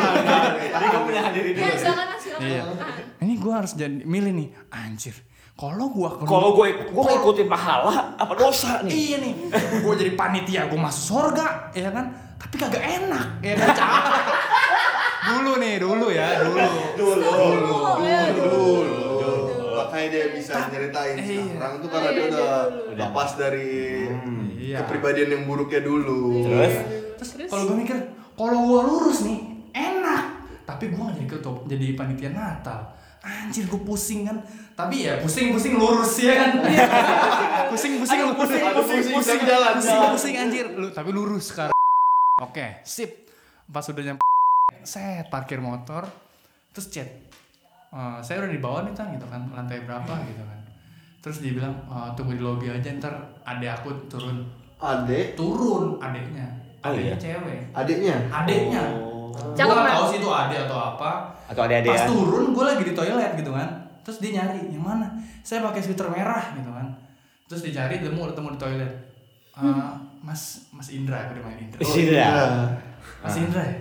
Speaker 2: Tadi kamu nahan diri
Speaker 3: Ya,
Speaker 2: dulu.
Speaker 3: silakan Mas, silakan.
Speaker 4: Iya.
Speaker 5: Iya.
Speaker 3: Ah.
Speaker 5: Ini gua harus jadi milih nih. Anjir. Kalau gua ke-
Speaker 2: Kalau gue gue ngikutin pahala apa dosa nih?
Speaker 5: Iya nih, gue jadi panitia, gue masuk surga, ya kan? Tapi kagak enak, ya kan? Capek. dulu nih, dulu ya, dulu.
Speaker 4: Dulu, dulu,
Speaker 3: ya,
Speaker 4: dulu, Makanya dia bisa nyeritain
Speaker 5: Iya.
Speaker 4: sekarang tuh karena dia
Speaker 3: Iya, dia
Speaker 4: udah
Speaker 2: dulu.
Speaker 4: lepas dari
Speaker 5: Iya.
Speaker 4: kepribadian yang buruknya dulu.
Speaker 2: Terus?
Speaker 5: Terus kalau gue mikir, kalau gue lurus nih, enak. Tapi gue jadi ketua, jadi panitia Natal. Anjir, gue pusing kan. Tapi ya pusing-pusing lurus ya kan. Pusing-pusing lurus.
Speaker 4: Iya. pusing, pusing, jalan, jalan.
Speaker 5: Pusing-pusing anjir. Lu, tapi lurus sekarang. Oke, sip. Pas udah nyampe set parkir motor terus chat Eh, saya udah di bawah nih tan gitu kan lantai berapa gitu kan terus dia bilang "Eh, tunggu di lobby aja ntar adek aku turun
Speaker 4: Adek,
Speaker 5: turun adeknya
Speaker 2: Oh, iya?
Speaker 5: adeknya cewek
Speaker 4: adeknya.
Speaker 5: adeknya
Speaker 2: Oh.
Speaker 5: gue
Speaker 3: Cakep,
Speaker 5: gak
Speaker 3: Pak.
Speaker 5: tau sih itu adek atau apa
Speaker 2: Atau ada-ada
Speaker 5: pas
Speaker 2: ya?
Speaker 5: turun gue lagi di toilet gitu kan terus dia nyari yang mana saya pakai sweater merah gitu kan terus dicari ketemu ketemu di toilet Eh,
Speaker 3: Hmm.
Speaker 5: mas mas Indra aku main
Speaker 4: Oh.
Speaker 5: Indra
Speaker 2: Sih dah.
Speaker 5: mas Indra ya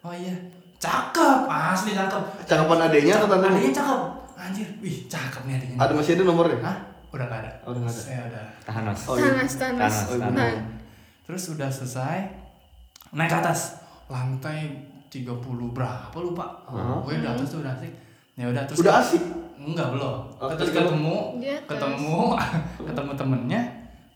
Speaker 5: oh iya cakep asli cakep
Speaker 4: Cakapan adeknya atau tante?
Speaker 5: adiknya cakep anjir wih cakep nih adiknya
Speaker 4: Ada masih ada nomornya?
Speaker 5: Hah? udah gak ada
Speaker 4: Oh, udah nggak ada.
Speaker 5: saya udah
Speaker 2: Tahan mas.
Speaker 4: Oh,
Speaker 3: Tahan, Mas, tahan, Mas.
Speaker 2: Tahan, Mas,
Speaker 3: Tahan.
Speaker 5: Terus udah selesai naik ke atas lantai 30 berapa lupa. Gue udah atas tuh udah asik. Ya udah terus
Speaker 4: Udah asik?
Speaker 5: Enggak belum.
Speaker 4: Oh,
Speaker 5: terus
Speaker 4: terus kamu-
Speaker 5: ketemu
Speaker 3: Di atas.
Speaker 5: ketemu ketemu temennya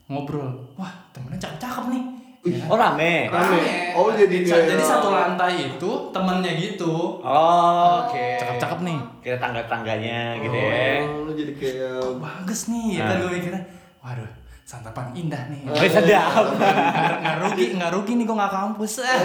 Speaker 5: ngobrol. Wah, temennya cakep-cakep nih. Ya kan?
Speaker 2: Oh rame.
Speaker 4: Rame. Oh, jadi
Speaker 5: Sa-
Speaker 4: dia-
Speaker 5: jadi satu lantai itu temennya gitu.
Speaker 2: Oh, Oke.
Speaker 5: Cakep-cakep nih.
Speaker 2: Kita tangga-tangganya gitu ya.
Speaker 4: Oh, lu jadi kayak
Speaker 5: Bagus nih. Ya kan
Speaker 4: Nah.
Speaker 5: gue mikirnya, waduh, santapan indah nih.
Speaker 2: Oh, sedap.
Speaker 5: nggak nggak rugi nggak rugi nih gue nggak kampus Eh,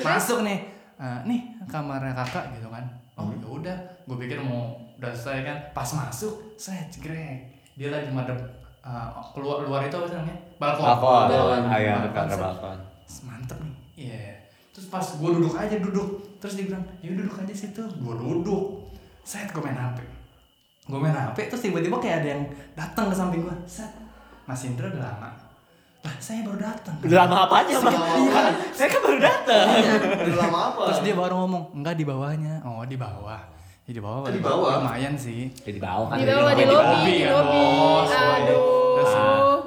Speaker 5: masuk nih Eh, nih kamarnya kakak gitu kan oh ya udah gue pikir mau udah selesai kan pas masuk saya cegrek dia lagi madep eh, keluar luar itu apa sih namanya balkon
Speaker 2: Balkon. Iya,
Speaker 5: Balkon.
Speaker 2: Ayo,
Speaker 5: Balkon,
Speaker 2: ke
Speaker 5: set.
Speaker 2: balkon.
Speaker 5: Terus mantep nih iya terus pas gue duduk aja duduk terus dia bilang ya duduk aja situ gue duduk set gue main hp gue main hp terus tiba-tiba kayak ada yang datang ke samping gue set mas Indra udah lama lah saya baru datang
Speaker 2: Udah lama apanya bang? Iya. Saya kan baru datang.
Speaker 4: Udah lama apa?
Speaker 5: terus dia baru ngomong enggak di bawahnya oh di bawah ya, di
Speaker 2: Oh,
Speaker 5: bawah
Speaker 4: Di bawah.
Speaker 5: lumayan sih
Speaker 2: Ya, Di bawah kan.
Speaker 3: Di
Speaker 2: jadi
Speaker 3: bawah, di
Speaker 2: ngapain
Speaker 3: lobi,
Speaker 5: lobby
Speaker 3: di
Speaker 5: ya,
Speaker 3: lobi.
Speaker 5: bos.
Speaker 3: Aduh.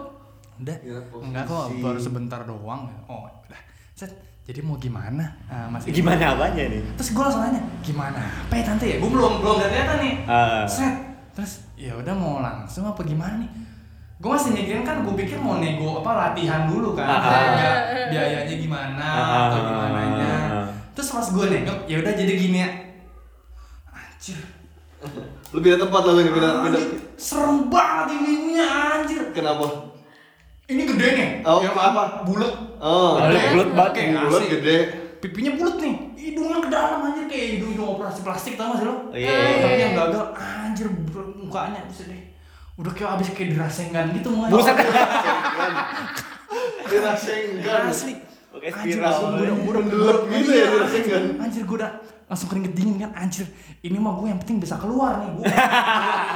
Speaker 5: udah
Speaker 2: Iya,
Speaker 4: Ya, posisi.
Speaker 5: enggak kok baru sebentar doang oh udah set jadi mau gimana Ah, mas Indra?
Speaker 2: Gimana apanya nih?
Speaker 5: terus gue langsung nanya gimana apa ya tante ya gue belum belum gak kelihatan nih
Speaker 2: Ah.
Speaker 5: set terus ya udah mau langsung apa gimana nih gue masih mikirin kan gue pikir mau nego apa latihan dulu kan
Speaker 2: Ah, ah.
Speaker 5: harga biayanya gimana
Speaker 2: Ah,
Speaker 5: atau
Speaker 2: ah,
Speaker 5: gimana
Speaker 2: ah, ah.
Speaker 5: terus pas gue nego ya udah jadi gini ya anjir
Speaker 4: Lu pindah tempat lalu ini pindah pindah.
Speaker 5: anjir, serem banget ini ininya, anjir
Speaker 4: Kenapa?
Speaker 5: ini gede nih
Speaker 4: Oh,
Speaker 5: Yang
Speaker 4: apa?
Speaker 5: bulat
Speaker 4: Oh,
Speaker 2: Bulat, bulat Eh, banget
Speaker 5: Kayak
Speaker 4: bulat
Speaker 5: asli.
Speaker 4: gede.
Speaker 5: pipinya bulat nih hidungnya ke dalam anjir kayak hidung hidung operasi plastik tau gak sih lo
Speaker 2: Iya.
Speaker 5: tapi yang gagal anjir bro, mukanya buset deh udah kayak abis kayak dirasengan gitu mukanya
Speaker 2: Buset.
Speaker 4: Dia senggan.
Speaker 5: asli
Speaker 2: Oke,
Speaker 5: anjir
Speaker 2: spiral.
Speaker 5: langsung gue udah Iya,
Speaker 4: Gelap gitu ya dirasengan.
Speaker 5: anjir gue udah langsung keringet dingin kan anjir ini mah gue yang penting bisa keluar nih gue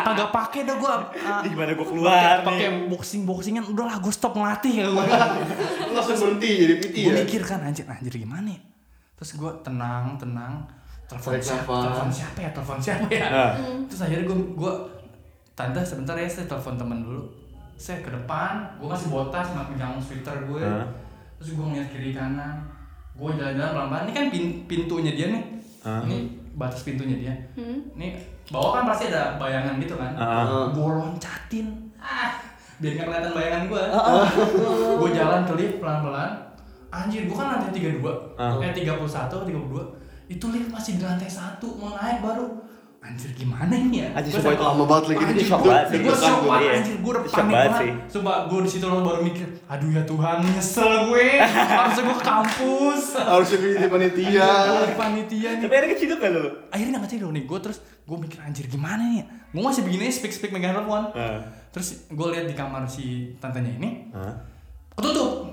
Speaker 5: kagak pakai dah gue ah,
Speaker 2: Gimana gue keluar
Speaker 5: pakai
Speaker 2: nih?
Speaker 5: boxing boxingan udahlah gue stop ngelatih ya gue
Speaker 4: Lu langsung berhenti jadi PT
Speaker 5: gue
Speaker 4: ya.
Speaker 5: mikir kan anjir anjir gimana ya terus gue tenang tenang telepon
Speaker 4: Tarik
Speaker 5: siapa
Speaker 4: nafas.
Speaker 5: telepon siapa ya telepon siapa ya
Speaker 2: Ah.
Speaker 5: terus akhirnya gue gue tante sebentar ya saya telepon temen dulu saya ke depan gue masih botas sama pegang sweater gue
Speaker 2: Ah.
Speaker 5: terus gue ngeliat kiri kanan gue jalan-jalan pelan-pelan ini kan pin- pintunya dia nih
Speaker 2: Ah.
Speaker 5: ini batas pintunya dia ini bawah kan pasti ada bayangan gitu kan gue loncatin ah biar nggak kelihatan bayangan gue gue jalan ke lift pelan pelan anjir gue kan lantai 32
Speaker 2: Ah.
Speaker 5: eh 31 atau 32 itu lift masih di lantai satu mau naik baru anjir gimana ini ya
Speaker 2: Anjir,
Speaker 5: Gua
Speaker 2: sumpah
Speaker 5: sampai-
Speaker 2: itu
Speaker 4: lama banget lagi.
Speaker 5: anjir,
Speaker 2: Shock
Speaker 5: gua-
Speaker 2: banget sih.
Speaker 5: gua
Speaker 2: Itu kan
Speaker 5: shock
Speaker 2: gua,
Speaker 5: banget
Speaker 2: iya.
Speaker 5: anjir gue udah
Speaker 2: Shock
Speaker 5: panik
Speaker 2: banget
Speaker 5: banget
Speaker 2: sih.
Speaker 5: sumpah gue disitu loh baru mikir aduh ya Tuhan nyesel gue harusnya gue ke kampus
Speaker 4: harusnya jadi panitia
Speaker 5: Gua di panitia nih
Speaker 2: Tapi akhirnya keciduk gak lu?
Speaker 5: akhirnya nggak tidur nih gue terus gue mikir anjir gimana nih gue masih begini speak speak megang telepon terus gue lihat di kamar si tantenya ini
Speaker 2: Hah?
Speaker 5: ketutup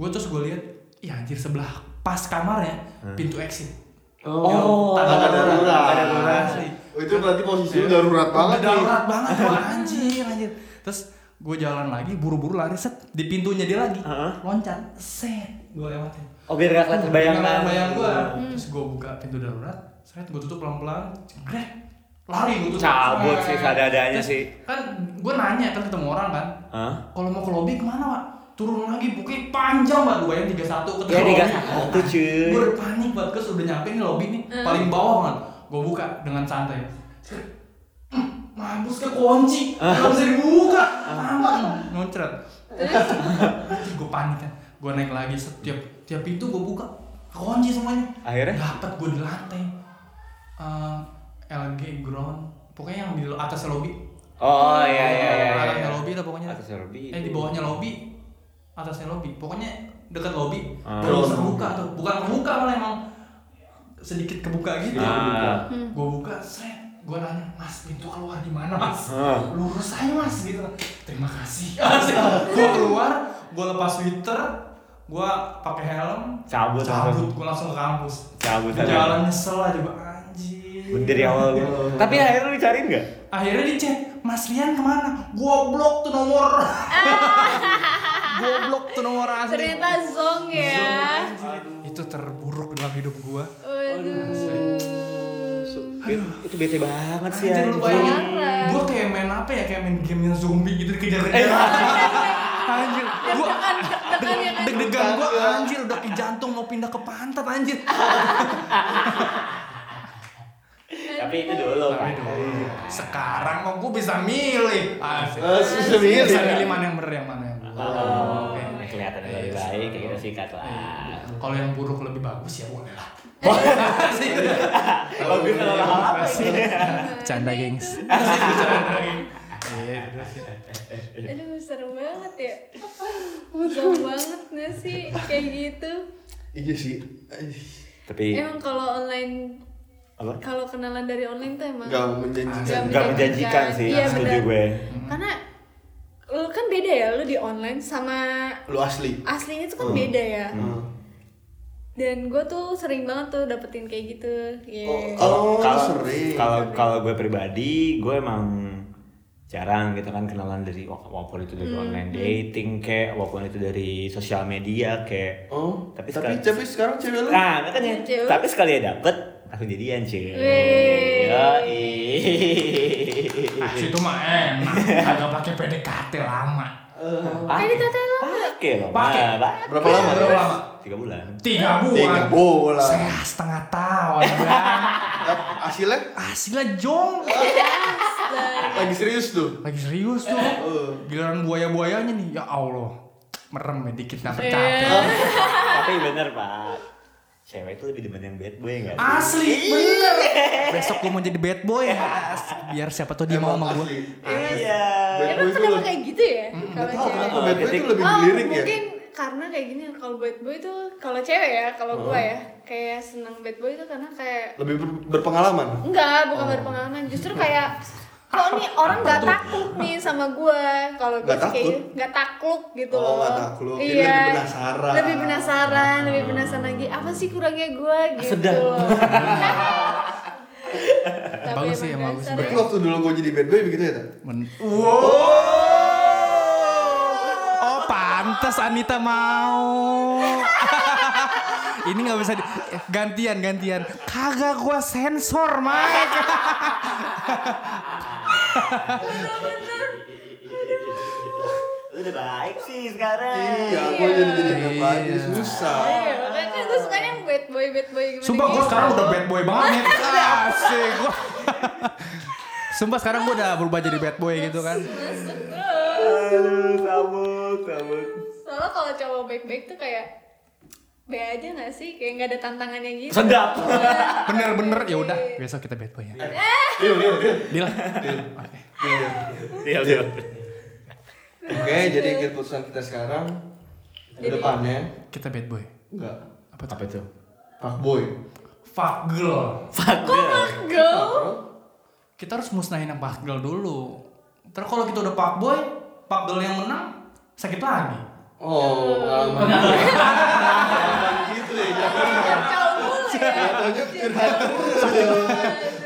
Speaker 5: gue terus gue lihat ya anjir sebelah pas kamarnya pintu exit
Speaker 4: oh
Speaker 5: Yang tangga darurat
Speaker 4: darurat.
Speaker 5: tangga darurat
Speaker 4: Oh, itu berarti posisinya darurat banget
Speaker 5: Udah
Speaker 4: nih.
Speaker 5: darurat banget wah anjir anjir terus gue jalan lagi buru-buru lari set di pintunya dia lagi loncat set gue lewatin
Speaker 2: Oh biar gak kelihatan kan? Hmm. bayangan
Speaker 5: bayang gue terus gue buka pintu darurat saya gue tutup pelan-pelan greh lari gue tutup
Speaker 2: Cabut
Speaker 5: Set.
Speaker 2: sih, seadanya
Speaker 5: Terus
Speaker 2: sih.
Speaker 5: kan gue nanya kan ketemu orang kan
Speaker 2: Hah?
Speaker 5: kalau mau ke lobby kemana pak turun lagi bukit panjang pak dua yang tiga satu
Speaker 2: Ya, 31, cuy.
Speaker 5: gue udah panik banget terus udah nyampe nih lobby nih paling bawah kan gue buka dengan santai Hmm, mampus ke kunci
Speaker 2: Ah.
Speaker 5: nggak bisa dibuka Mampus. noncret gue panik kan gue naik lagi setiap tiap pintu gue buka kunci semuanya
Speaker 2: Akhirnya?
Speaker 5: dapat gue di lantai Eh, LG ground pokoknya yang di atas lobby
Speaker 2: Oh iya iya iya iya,
Speaker 5: atasnya
Speaker 2: iya
Speaker 5: lobby atau pokoknya
Speaker 2: Atasnya lobby.
Speaker 5: eh di bawahnya lobby atasnya lobby pokoknya dekat lobby
Speaker 2: Ah.
Speaker 5: terus kebuka tuh bukan kebuka malah emang sedikit kebuka gitu
Speaker 2: Ah.
Speaker 5: gue buka set gue nanya mas pintu keluar di mana mas
Speaker 2: Ah.
Speaker 5: lurus aja mas gitu terima kasih gue keluar gue lepas sweater gue pakai helm
Speaker 2: Cabut
Speaker 5: cabut
Speaker 2: langsung.
Speaker 5: gue langsung ke kampus
Speaker 2: Cabut
Speaker 5: Di
Speaker 2: aja.
Speaker 5: jalan nyesel aja gue anjir
Speaker 2: Bener ya awal gue Tapi akhirnya lu dicariin gak?
Speaker 5: akhirnya di chat Mas Rian kemana gue blok tuh nomor gue blok tuh nomor asli
Speaker 3: Ternyata zong ya.
Speaker 5: itu terburuk dalam hidup gue
Speaker 3: Waduh.
Speaker 2: Itu bete banget sih
Speaker 5: Anjir lu
Speaker 2: anjing.
Speaker 5: bayangin
Speaker 3: Parah.
Speaker 5: Gue kayak main apa ya, kayak main game yang zombie gitu dikejar-kejar
Speaker 4: Eh.
Speaker 5: Anjir, gue
Speaker 3: Deg-degan ya kan?
Speaker 5: deg-degan gue anjir udah ke jantung mau pindah ke pantat anjir
Speaker 2: Tapi itu dulu kan
Speaker 5: Sekarang kok gue bisa milih Asik.
Speaker 4: Eh, bisa milih,
Speaker 5: Bisa
Speaker 4: ya?
Speaker 5: milih mana yang bener yang mana yang buruk
Speaker 3: Oh,
Speaker 5: Oke.
Speaker 3: iya.
Speaker 2: Kelihatan lebih baik, kayak kita sikat lah
Speaker 5: Eh, Kalau yang buruk lebih bagus ya boleh lah
Speaker 2: Bagus kalau apa sih
Speaker 5: Canda gengs Asik, bercanda, gengs. Iya, udah sih.
Speaker 3: Aduh seru banget ya. Zong banget gak sih kayak gitu?
Speaker 4: iya sih
Speaker 2: Tapi
Speaker 3: Emang kalau online
Speaker 2: Apa?
Speaker 3: kalau kenalan dari online tuh emang
Speaker 4: nggak menjanjikan
Speaker 2: Gak menjanjikan sih,
Speaker 3: Iya,
Speaker 2: setuju
Speaker 3: benar.
Speaker 2: gue
Speaker 3: Karena lu kan beda ya lu di online sama
Speaker 4: lu asli
Speaker 3: aslinya itu kan
Speaker 2: Hmm.
Speaker 3: beda ya. Dan gue tuh sering banget tuh dapetin kayak gitu. Iya.
Speaker 2: ah.
Speaker 4: oh,
Speaker 2: kalau
Speaker 4: sering
Speaker 2: kalau kalau gue pribadi gue emang jarang gitu kan kenalan dari walaupun itu
Speaker 3: Hmm,
Speaker 2: dari online dating kayak walaupun itu dari sosial media kayak
Speaker 4: oh
Speaker 2: Tapi
Speaker 4: tapi tapi,
Speaker 2: sekarang-
Speaker 4: sekarang cewek lu
Speaker 2: nah makanya
Speaker 3: Lucu.
Speaker 2: tapi sekali ya dapet langsung jadian cuy
Speaker 3: Wih.
Speaker 2: Yoi.
Speaker 5: Ah, situ mah enak, agak pakai PDKT lama.
Speaker 2: Pakai.
Speaker 3: Ini kata lo
Speaker 2: pakai loh
Speaker 5: Pakai.
Speaker 2: Ma, pakai.
Speaker 4: Berapa lama?
Speaker 5: Berapa lama?
Speaker 2: tiga bulan
Speaker 5: Tiga bulan.
Speaker 4: tiga bola
Speaker 5: Saya setengah tahun. Bang.
Speaker 4: hasilnya
Speaker 5: Hasilnya jong.
Speaker 4: lagi serius tuh
Speaker 5: Lagi serius tuh. Giliran buaya-buayanya nih, ya Allah. Merem ya dikit nggak capek.
Speaker 2: tapi bener pak cewek itu lebih demen yang bad boy nggak
Speaker 4: Ah,
Speaker 2: sih?
Speaker 5: Asli bener. Besok gue mau jadi bad boy. As- Biar siapa tuh dia mau sama gue.
Speaker 4: Asli.
Speaker 2: iya Hmm.
Speaker 4: Bad
Speaker 3: Emang
Speaker 4: boy itu
Speaker 3: kenapa
Speaker 4: lebih-
Speaker 3: kayak gitu ya? Kalau
Speaker 4: Oh,
Speaker 3: cewek.
Speaker 4: kenapa bad boy itu lebih
Speaker 3: Oh,
Speaker 4: dilirik ya?
Speaker 3: mungkin karena kayak gini kalau bad boy itu kalau cewek ya, kalau
Speaker 4: Oh.
Speaker 3: gua ya kayak seneng bad boy itu karena kayak
Speaker 4: Lebih ber- berpengalaman.
Speaker 3: enggak, bukan
Speaker 4: Oh.
Speaker 3: berpengalaman, justru kayak kok nih orang nggak takluk nih sama gua kalau gua
Speaker 4: Nggak
Speaker 3: sih kayak
Speaker 4: takut?
Speaker 3: gitu, nggak takluk gitu
Speaker 4: Oh,
Speaker 3: loh.
Speaker 4: nggak takluk. Jadi
Speaker 3: Iya.
Speaker 4: lebih penasaran. Oh.
Speaker 3: Lebih penasaran, lebih penasaran lagi apa sih kurangnya gua gitu. loh. Tapi
Speaker 5: Bagus sih,
Speaker 3: emang
Speaker 5: bagus.
Speaker 3: dasar
Speaker 4: Berarti
Speaker 3: ya.
Speaker 4: waktu dulu gue jadi bad boy begitu ya, Tan?
Speaker 5: Men- Oh pantas Anita mau. Ini nggak bisa di- gantian gantian. Kagak gua sensor Mike.
Speaker 2: Lu udah baik sih sekarang
Speaker 4: Iya, gue jadi jadi bad boy. Susah.
Speaker 3: Iya, makanya kan gue sukanya yang bad boy bad boy gimana
Speaker 5: Sumpah gua
Speaker 3: gitu.
Speaker 5: sekarang udah bad boy banget nih. Asik gua. Sumpah sekarang gue udah berubah jadi bad boy gitu kan.
Speaker 2: Aduh, sabut, sabut.
Speaker 3: Soalnya kalau cowok baik-baik tuh kayak be aja gak sih? Kayak nggak ada tantangannya gitu.
Speaker 2: Sedap.
Speaker 5: Bener-bener ya udah besok kita bad boy ya. Deal. Oke.
Speaker 2: Iya, iya.
Speaker 4: Oke, jadi keputusan kita sekarang ke depannya
Speaker 5: Kita bad boy.
Speaker 4: enggak
Speaker 5: Apa tuh?
Speaker 2: itu?
Speaker 4: fuckboy.
Speaker 5: Fuck girl.
Speaker 2: Fuck
Speaker 3: Oh
Speaker 2: girl.
Speaker 3: Go.
Speaker 5: Kita harus musnahin yang fuck girl dulu. Terus kalau kita udah fuck boy, fuck girl yang menang sakit lagi.
Speaker 4: Oh, pengalaman. Pengalaman gitu ya, jangan.
Speaker 3: Kacau mulu ya.
Speaker 4: Taunya curhat dulu.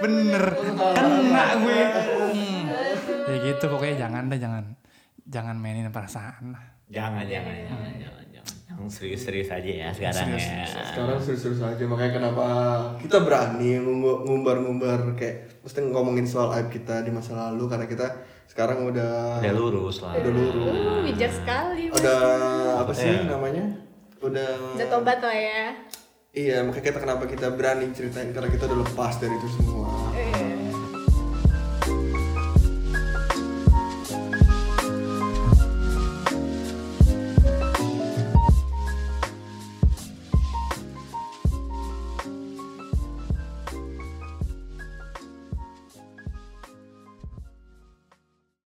Speaker 5: Bener. Kena gue. Hmm. Ya gitu pokoknya jangan deh jangan jangan mainin perasaan lah.
Speaker 2: Jangan, jangan, jangan, jangan, jangan. Yang serius-serius aja ya sekarang
Speaker 5: Serius,
Speaker 2: ya.
Speaker 4: Sekarang serius-serius aja, makanya kenapa kita berani ngumbu- ngumbar-ngumbar kayak mesti ngomongin soal aib kita di masa lalu karena kita sekarang udah
Speaker 2: Udah lurus lah.
Speaker 4: udah lurus.
Speaker 3: Uh, bijak sekali. Mas.
Speaker 4: Udah apa sih
Speaker 2: Iya.
Speaker 4: namanya? Udah
Speaker 3: Udah tobat lah ya.
Speaker 4: Iya, makanya kita kenapa kita berani ceritain karena kita udah lepas dari itu semua.
Speaker 3: Eh,